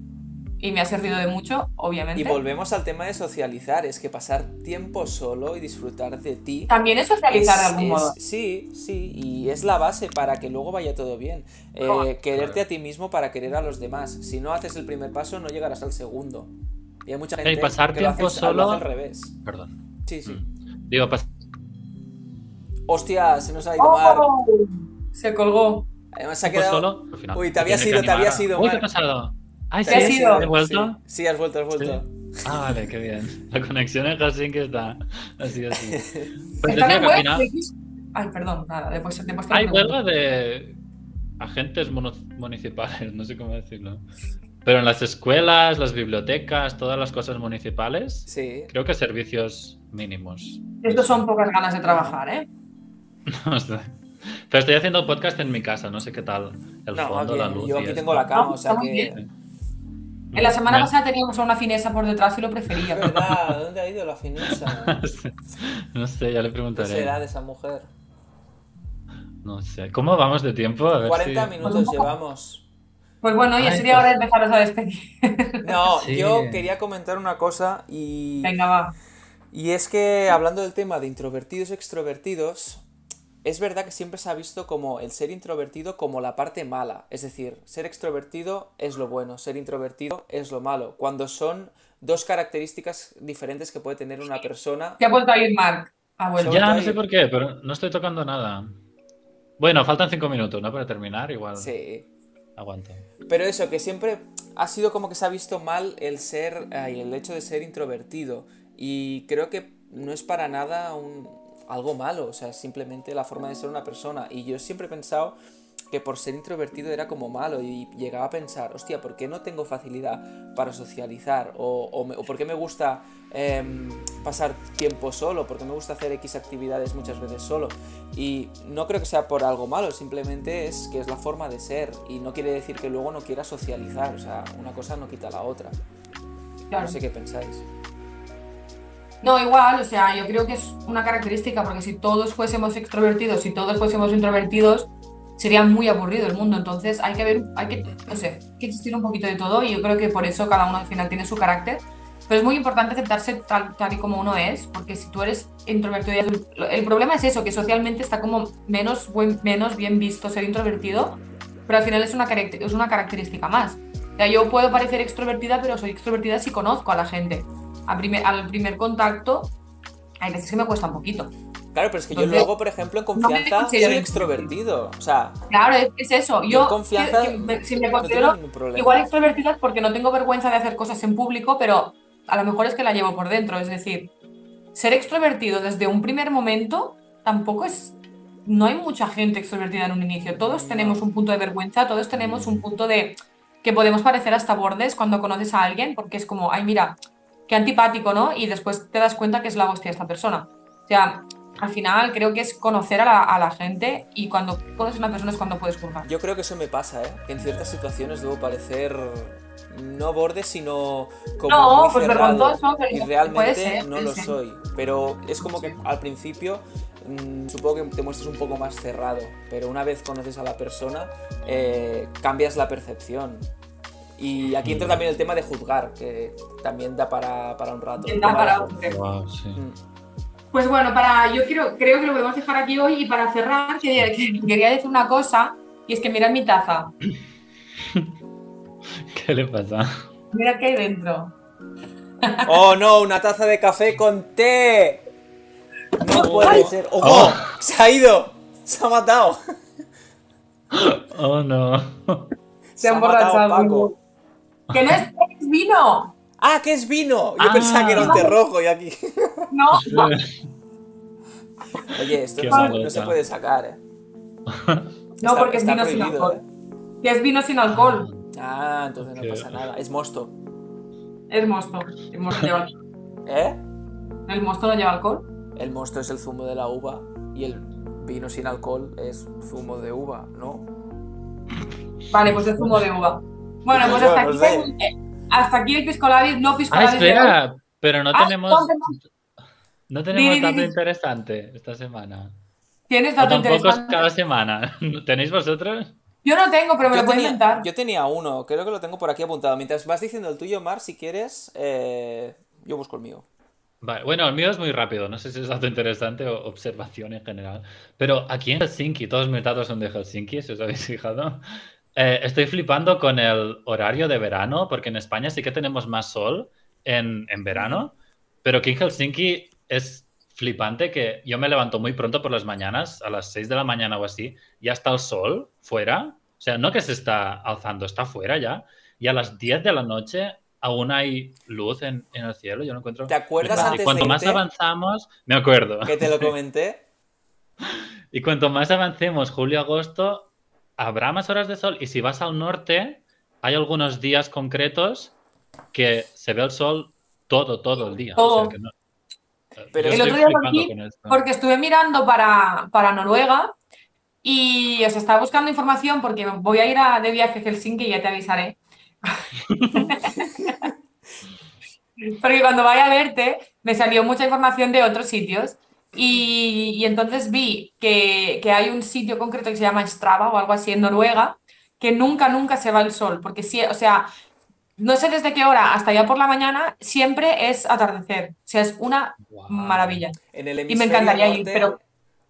Speaker 3: y me ha servido de mucho,
Speaker 1: Y
Speaker 3: obviamente.
Speaker 1: volvemos al tema de socializar, es que pasar tiempo solo y disfrutar de ti.
Speaker 3: También es socializar de
Speaker 1: es-
Speaker 3: algún
Speaker 1: es-
Speaker 3: modo.
Speaker 1: Sí, sí, y es la base para que luego vaya todo bien. Eh,
Speaker 3: Claro.
Speaker 1: quererte a ti mismo para querer a los demás. Si no haces el primer paso, no llegarás al segundo. Y hay mucha gente
Speaker 2: Y pasar
Speaker 1: que lo
Speaker 2: tiempo
Speaker 1: hace- lo hace
Speaker 2: solo- Mm.
Speaker 1: al revés.
Speaker 2: Perdón.
Speaker 1: Sí, sí.
Speaker 2: Digo, pues, pas-
Speaker 1: Hostia, se nos ha ido Mar.
Speaker 3: ¡Oh! Se colgó.
Speaker 1: Además se ha
Speaker 2: Pues
Speaker 1: quedado.
Speaker 2: solo, al final,
Speaker 1: Uy, te
Speaker 2: se
Speaker 1: habías
Speaker 2: tiene
Speaker 1: ido,
Speaker 2: que
Speaker 1: te habías
Speaker 2: animar.
Speaker 1: ido,
Speaker 2: Uy, ¿qué
Speaker 1: Marc.
Speaker 2: ha pasado? Ay,
Speaker 3: Te
Speaker 2: sí,
Speaker 3: has
Speaker 2: sí,
Speaker 3: ido.
Speaker 2: ¿He vuelto?
Speaker 1: Sí, sí, has vuelto, has vuelto.
Speaker 2: Ah, vale, qué bien. La conexión en Helsinki está así, así. Pues
Speaker 3: Está
Speaker 2: decía
Speaker 3: en
Speaker 2: que al
Speaker 3: web,
Speaker 2: final
Speaker 3: X. Ay, perdón, nada, después te he puesto
Speaker 2: hay
Speaker 3: una pregunta.
Speaker 2: huelga de agentes mono- municipales, no sé cómo decirlo. Pero en las escuelas, las bibliotecas, todas las cosas municipales,
Speaker 1: Sí.
Speaker 2: creo que servicios mínimos.
Speaker 3: Estos son pocas ganas de trabajar, ¿eh?
Speaker 2: No sé. Pero estoy haciendo podcast en mi casa, no sé qué tal el
Speaker 1: No,
Speaker 2: fondo, la
Speaker 1: bien,
Speaker 2: luz.
Speaker 1: yo
Speaker 2: y
Speaker 1: aquí
Speaker 2: esto.
Speaker 1: tengo la cama,
Speaker 3: Ah,
Speaker 1: o sea
Speaker 3: está muy
Speaker 1: que.
Speaker 3: bien. En la semana
Speaker 2: Me-
Speaker 3: pasada teníamos a una finesa por detrás y lo prefería.
Speaker 1: Es verdad, ¿dónde ha ido la fineza?
Speaker 2: No sé, ya le
Speaker 1: ¿Qué
Speaker 2: preguntaré.
Speaker 1: será de esa mujer?
Speaker 2: No sé. ¿Cómo vamos de tiempo? A ver
Speaker 1: 40
Speaker 2: si-
Speaker 1: minutos llevamos.
Speaker 3: Pues bueno, ya
Speaker 2: Ay,
Speaker 3: sería
Speaker 2: pues-
Speaker 3: hora de empezaros a despedir.
Speaker 1: No,
Speaker 2: Sí.
Speaker 1: yo quería comentar una cosa y,
Speaker 3: Venga, va.
Speaker 1: y es que hablando del tema de introvertidos extrovertidos, es verdad que siempre se ha visto como el ser introvertido como la parte mala. Es decir, ser extrovertido es lo bueno, ser introvertido es lo malo. Cuando son dos características diferentes que puede tener una persona.
Speaker 3: Te ha vuelto a ir Mark. Ha vuelto.
Speaker 2: Ya, no sé por qué, pero no estoy tocando nada. Bueno, faltan cinco minutos, ¿no? Para terminar, igual.
Speaker 1: Sí.
Speaker 2: Aguanto.
Speaker 1: Pero eso, que siempre ha sido como que se ha visto mal el ser ay, el hecho de ser introvertido. Y creo que no es para nada un, algo malo, o sea, es simplemente la forma de ser una persona. Y yo siempre he pensado que por ser introvertido era como malo y llegaba a pensar, hostia, ¿por qué no tengo facilidad para socializar? ¿O, o me- o por qué me gusta em, pasar tiempo solo? ¿Por qué me gusta hacer X actividades muchas veces solo? Y no creo que sea por algo malo, simplemente es que es la forma de ser y no quiere decir que luego no quiera socializar, o sea, una cosa no quita la otra.
Speaker 3: Claro.
Speaker 1: No sé qué pensáis.
Speaker 3: No, igual, o sea, yo creo que es una característica, porque si todos fuésemos extrovertidos, si todos fuésemos introvertidos, sería muy aburrido el mundo. Entonces hay que ver, hay que, no sé, hay que existir un poquito de todo y yo creo que por eso cada uno al final tiene su carácter. Pero es muy importante aceptarse tal, tal y como uno es, porque si tú eres introvertido, y eres- el problema es eso, que socialmente está como menos, buen- menos bien visto ser introvertido, pero al final es una, caract- es una característica más. O sea, yo puedo parecer extrovertida, pero soy extrovertida si conozco a la gente a primer- al primer contacto, hay veces que me cuesta un poquito.
Speaker 1: Claro, pero es que yo
Speaker 3: Entonces,
Speaker 1: luego, por ejemplo, en
Speaker 3: no me
Speaker 1: confianza soy
Speaker 3: considero
Speaker 1: extrovertido. O sea,
Speaker 3: Claro, es, es eso.
Speaker 1: Yo
Speaker 3: Yo,
Speaker 1: confianza
Speaker 3: que- que me- si me
Speaker 1: no tengo
Speaker 3: considero
Speaker 1: ningún problema.
Speaker 3: igual extrovertida es porque no tengo vergüenza de hacer cosas en público, pero a lo mejor es que la llevo por dentro. Es decir, ser extrovertido desde un primer momento tampoco es... No hay mucha gente extrovertida en un inicio. Todos
Speaker 1: No.
Speaker 3: tenemos un punto de vergüenza, todos tenemos un punto de... que podemos parecer hasta bordes cuando conoces a alguien, porque es como, ay, mira, qué antipático, ¿no? Y después te das cuenta que es la hostia esta persona. O sea, al final creo que es conocer a la, a la gente y cuando conoces a una persona es cuando puedes juzgar.
Speaker 1: Yo creo que eso me pasa, ¿eh? Que en ciertas situaciones debo parecer no borde, sino como
Speaker 3: No,
Speaker 1: muy
Speaker 3: pues
Speaker 1: cerrado.
Speaker 3: vergonzoso, pero
Speaker 1: y
Speaker 3: puede
Speaker 1: realmente
Speaker 3: ser,
Speaker 1: no
Speaker 3: puede
Speaker 1: lo
Speaker 3: ser.
Speaker 1: soy. Pero es como que al principio mm, supongo que te muestras un poco más cerrado. Pero una vez conoces a la persona, eh, cambias la percepción. Y aquí entra también el tema de juzgar, que también da para, para un rato.
Speaker 3: Da para
Speaker 1: Vale.
Speaker 3: un tema.
Speaker 2: Wow, sí.
Speaker 1: Mm.
Speaker 3: Pues bueno, para, yo quiero, creo que lo podemos dejar aquí hoy y para cerrar quería, que- quería decir una cosa y es que mirad mi taza,
Speaker 2: ¿Qué le pasa?
Speaker 3: mirad qué hay dentro.
Speaker 1: ¡Oh no! ¡Una taza de café con té! No puede ser. ¡Oh!
Speaker 2: Oh.
Speaker 1: ¡Se ha ido! ¡Se ha matado!
Speaker 2: Oh, no.
Speaker 1: Se
Speaker 3: han
Speaker 1: ha matado
Speaker 3: emborrachado.
Speaker 1: Paco.
Speaker 3: Que no es, es vino,
Speaker 1: ¡Ah, que es vino! Yo
Speaker 2: Ah.
Speaker 1: pensaba que era un té rojo y aquí.
Speaker 3: no,
Speaker 1: Oye, esto
Speaker 2: Qué
Speaker 1: no,
Speaker 2: malo
Speaker 1: no se
Speaker 2: está.
Speaker 1: puede sacar, ¿eh?
Speaker 3: no
Speaker 1: Está-
Speaker 3: porque es
Speaker 1: está
Speaker 3: vino sin
Speaker 1: prohibido, eh.
Speaker 3: alcohol. Que es vino sin alcohol,
Speaker 1: Ah, entonces
Speaker 2: Ok.
Speaker 1: no pasa nada. Es mosto.
Speaker 3: es mosto. El mosto, lleva,
Speaker 1: ¿Eh?
Speaker 3: el mosto no lleva alcohol.
Speaker 1: El mosto es el zumo de la uva y el vino sin alcohol es zumo de uva, ¿no?
Speaker 3: Vale, pues es zumo de uva. Bueno, pues
Speaker 1: Yo
Speaker 3: hasta
Speaker 1: no
Speaker 3: aquí,
Speaker 1: sé.
Speaker 3: el- hasta aquí el pisco labis, no pisco
Speaker 2: Ah,
Speaker 3: labis de hoy.
Speaker 2: espera, pero no
Speaker 3: Ah,
Speaker 2: tenemos.
Speaker 3: no tenemos-
Speaker 2: No tenemos
Speaker 3: Di, di,
Speaker 2: dato
Speaker 3: di.
Speaker 2: interesante esta semana.
Speaker 3: Tienes
Speaker 2: O
Speaker 3: dato
Speaker 2: tampoco es
Speaker 3: interesante.
Speaker 2: cada semana. ¿Tenéis vosotros?
Speaker 3: Yo no tengo, pero me lo puedo
Speaker 1: tenía,
Speaker 3: inventar.
Speaker 1: yo tenía uno, creo que lo tengo por aquí apuntado. Mientras vas diciendo el tuyo, Mar, si quieres, eh, yo busco el mío.
Speaker 2: Vale, bueno, el mío es muy rápido. No sé si es dato interesante o observación en general. Pero aquí en Helsinki, todos mis datos son de Helsinki, si os habéis fijado. Eh, estoy flipando con el horario de verano, porque en España sí que tenemos más sol en, en verano. Pero aquí en Helsinki es flipante que yo me levanto muy pronto por las mañanas, a las 6 de la mañana o así, ya está el sol fuera. O sea, no que se está alzando, está fuera ya. Y a las 10 de la noche aún hay luz en, en el cielo. Yo no encuentro.
Speaker 1: ¿Te acuerdas
Speaker 2: flipante.
Speaker 1: antes
Speaker 2: y cuanto
Speaker 1: de
Speaker 2: más
Speaker 1: irte?
Speaker 2: avanzamos, me acuerdo.
Speaker 1: Que te lo comenté.
Speaker 2: Y cuanto más avancemos julio-agosto, habrá más horas de sol. Y si vas al norte, hay algunos días concretos que se ve el sol todo, todo el día.
Speaker 3: Todo.
Speaker 2: O sea que no-
Speaker 1: Pero
Speaker 2: Yo
Speaker 1: El
Speaker 2: estoy
Speaker 3: otro día lo
Speaker 2: flipando
Speaker 3: vi
Speaker 2: con esto.
Speaker 3: Porque estuve mirando para, para Noruega y os estaba buscando información porque voy a ir a- de viaje a Helsinki y ya te avisaré. porque cuando vaya a verte me salió mucha información de otros sitios y, y entonces vi que, que hay un sitio concreto que se llama Strava o algo así en Noruega que nunca, nunca se va el sol, porque sí, o sea, no sé desde qué hora hasta ya por la mañana, siempre es atardecer, o sea, es una
Speaker 2: Guau.
Speaker 3: maravilla.
Speaker 1: En
Speaker 3: Y
Speaker 1: el
Speaker 3: me
Speaker 1: hemisferio
Speaker 3: encantaría ir,
Speaker 1: norte,
Speaker 3: pero.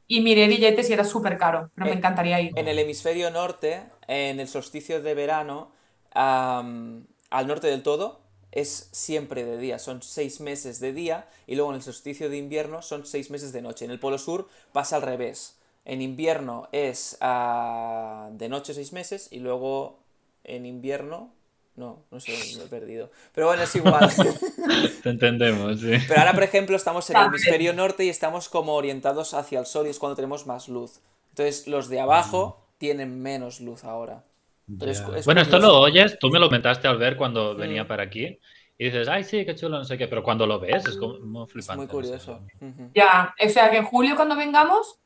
Speaker 3: Y miré billetes y era súper caro, pero me
Speaker 1: Eh,
Speaker 3: encantaría ir.
Speaker 1: En el hemisferio norte, en el solsticio de verano, am, al norte del todo, es siempre de día, son seis meses de día, y luego en el solsticio de invierno son seis meses de noche. En el polo sur pasa al revés. En invierno es ah, de noche seis meses, y luego en invierno. No, no sé, me he perdido. Pero bueno, es igual.
Speaker 2: Te entendemos, sí.
Speaker 1: Pero ahora, por ejemplo, estamos en el
Speaker 3: Vale.
Speaker 1: hemisferio norte y estamos como orientados hacia el sol y es cuando tenemos más luz. Entonces, los de abajo tienen menos luz ahora. Pero es
Speaker 2: Ya.
Speaker 1: cu- es
Speaker 2: bueno, esto
Speaker 1: curioso.
Speaker 2: lo oyes, tú me lo comentaste al ver cuando
Speaker 1: Mm.
Speaker 2: venía para aquí y dices, ay, sí, qué chulo, no sé qué, pero cuando lo ves es como muy
Speaker 1: Es
Speaker 2: flipante.
Speaker 1: muy
Speaker 2: no sé.
Speaker 1: curioso. Ujú.
Speaker 3: Ya, o sea que en julio cuando vengamos,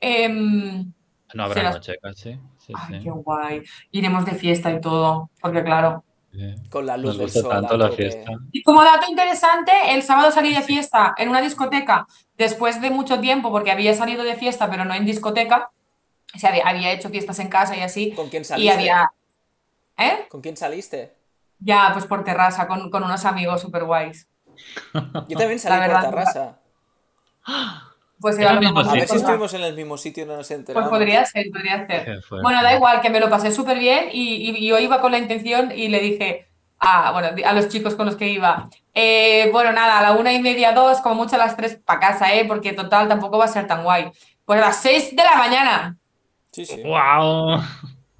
Speaker 3: em,
Speaker 2: No habrá
Speaker 3: Será-
Speaker 2: noche casi. Sí,
Speaker 3: ay,
Speaker 2: sí.
Speaker 3: qué guay, iremos de fiesta y todo, porque claro.
Speaker 2: Sí.
Speaker 1: Con la luz
Speaker 2: Nos
Speaker 1: del
Speaker 2: gusta
Speaker 1: sol.
Speaker 2: tanto
Speaker 1: a
Speaker 2: la
Speaker 1: tope.
Speaker 2: fiesta.
Speaker 3: Y como dato interesante, el sábado salí de fiesta en una discoteca después de mucho tiempo, porque había salido de fiesta, pero no en discoteca, o sea, había- había hecho fiestas en casa y así,
Speaker 1: ¿Con quién
Speaker 3: y
Speaker 1: saliste?
Speaker 3: había... ¿Eh?
Speaker 1: ¿Con quién saliste?
Speaker 3: Ya, pues por terraza, con, con unos amigos súper guays.
Speaker 1: Yo también salí por
Speaker 3: verdad,
Speaker 1: Terrasa.
Speaker 3: Pues
Speaker 2: Era
Speaker 3: iba
Speaker 2: el mismo
Speaker 3: con-
Speaker 1: A
Speaker 2: Sí.
Speaker 1: ver si
Speaker 3: con-
Speaker 1: estuvimos en el mismo sitio y no nos
Speaker 3: Pues
Speaker 1: enteramos.
Speaker 3: podría ser, podría ser.
Speaker 2: Qué fuerte.
Speaker 3: Bueno, da igual, que me lo pasé súper bien y, y- y yo iba con la intención y le dije a, bueno, a los chicos con los que iba, eh, bueno, nada, a la una y media, dos, como mucho a las tres para casa, ¿eh? Porque total, tampoco va a ser tan guay. Pues a las seis de la mañana.
Speaker 1: Sí, sí.
Speaker 2: ¡Wow!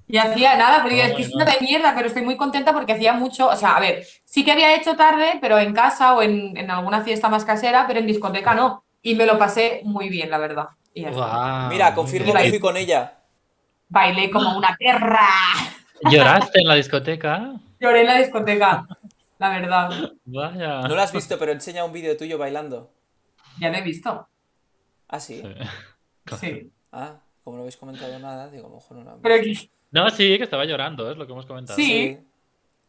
Speaker 3: Y hacía nada, pero
Speaker 2: Ah,
Speaker 3: es que es
Speaker 2: bueno.
Speaker 3: una de mierda, pero estoy muy contenta porque hacía mucho, o sea, a ver, sí que había hecho tarde, pero en casa o en, en alguna fiesta más casera, pero en discoteca no. Y me lo pasé muy bien, la verdad. Y ya está.
Speaker 2: Guau,
Speaker 1: Mira,
Speaker 2: muy
Speaker 1: confirmo
Speaker 2: bien.
Speaker 1: que fui con ella.
Speaker 3: Bailé como una perra.
Speaker 2: ¿Lloraste en la discoteca?
Speaker 3: Lloré en la discoteca, la verdad.
Speaker 2: Vaya.
Speaker 1: No la has visto, pero enseña un vídeo tuyo bailando.
Speaker 3: Ya lo he visto.
Speaker 1: Ah, sí.
Speaker 2: Sí.
Speaker 3: Sí.
Speaker 1: Ah, como no habéis comentado nada, digo, a lo mejor no la han
Speaker 3: Pero
Speaker 1: visto.
Speaker 3: que-
Speaker 2: No, sí, que estaba llorando, es lo que hemos comentado.
Speaker 3: Sí.
Speaker 2: Mm.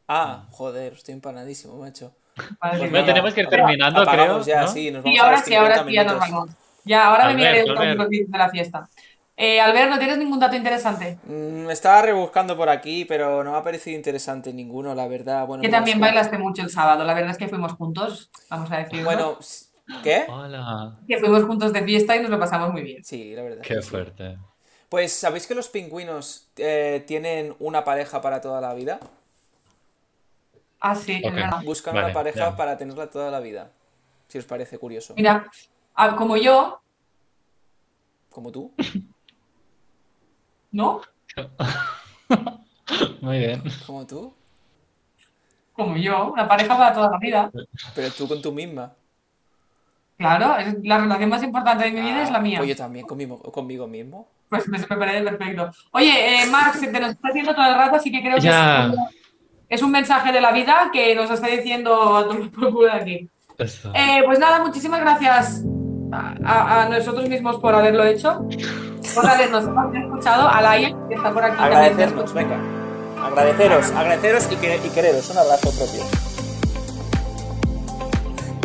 Speaker 1: Ah, joder, estoy empanadísimo, macho.
Speaker 3: madre
Speaker 1: Pues
Speaker 3: mía.
Speaker 2: Bueno, tenemos que ir terminando,
Speaker 1: Apagamos
Speaker 2: creo,
Speaker 1: ya,
Speaker 2: ¿no?
Speaker 1: sí, nos vamos
Speaker 3: Sí,
Speaker 1: a
Speaker 3: ahora
Speaker 1: los
Speaker 3: sí, ahora
Speaker 1: 50
Speaker 3: sí, ya nos
Speaker 1: minutos.
Speaker 3: vamos. Ya, ahora me miraré
Speaker 2: Albert,
Speaker 3: los
Speaker 2: Albert.
Speaker 3: amigos de la fiesta. Eh, Albert, ¿no tienes ningún dato interesante?
Speaker 1: Mm, Me estaba rebuscando por aquí, pero no me ha parecido interesante ninguno, la verdad. Bueno,
Speaker 3: Que
Speaker 1: menos
Speaker 3: también bailaste mucho el sábado. La verdad es que fuimos juntos, vamos a decir.
Speaker 1: Bueno, s- ¿qué?
Speaker 2: Ah. Hola.
Speaker 3: Que fuimos juntos de fiesta y nos lo pasamos muy bien.
Speaker 1: Sí, la verdad.
Speaker 2: Qué
Speaker 1: que sí.
Speaker 2: fuerte.
Speaker 1: Pues, ¿sabéis que los pingüinos eh, tienen una pareja para toda la vida?
Speaker 3: Ah, sí, es
Speaker 2: Ok.
Speaker 3: verdad.
Speaker 1: Buscan
Speaker 2: Vale,
Speaker 1: una pareja
Speaker 2: ya.
Speaker 1: para tenerla toda la vida. Si os parece curioso.
Speaker 3: Mira, ah, como yo,
Speaker 1: Como tú.
Speaker 3: ¿no?
Speaker 2: Muy bien.
Speaker 1: Como tú.
Speaker 3: Como yo, una pareja para toda la vida.
Speaker 1: Pero tú con tú misma.
Speaker 3: Claro, es la relación más importante de mi vida es la
Speaker 1: Ah,
Speaker 3: mía.
Speaker 1: Pues yo también, conmigo, conmigo mismo.
Speaker 3: Pues me, me parece perfecto. Oye, eh, Marc, se te nos está haciendo todo el rato, así que creo que
Speaker 2: Ya.
Speaker 3: es, un- es un mensaje de la vida que nos está diciendo a tomar por culo de aquí.
Speaker 2: Eso.
Speaker 3: Eh, pues nada, muchísimas gracias a, a- a nosotros mismos por haberlo hecho, por habernos escuchado, a Laia, que está por aquí. también.
Speaker 1: Agradecernos, venga. Agradeceros, agradeceros y, que- y quereros. Un abrazo propio.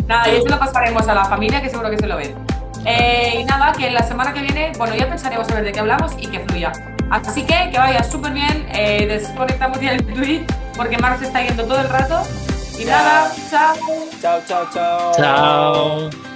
Speaker 3: Nada, y eso lo pasaremos a la familia, que seguro que se lo ven. Eh, y nada, que la semana que viene, bueno, ya pensaremos a ver de qué hablamos y que fluya. Así que que vaya súper bien, eh, desconectamos ya el tweet, porque Marx está yendo todo el rato. Y
Speaker 1: Ya.
Speaker 3: nada, chao.
Speaker 1: Chao, chao, chao.
Speaker 2: Chao.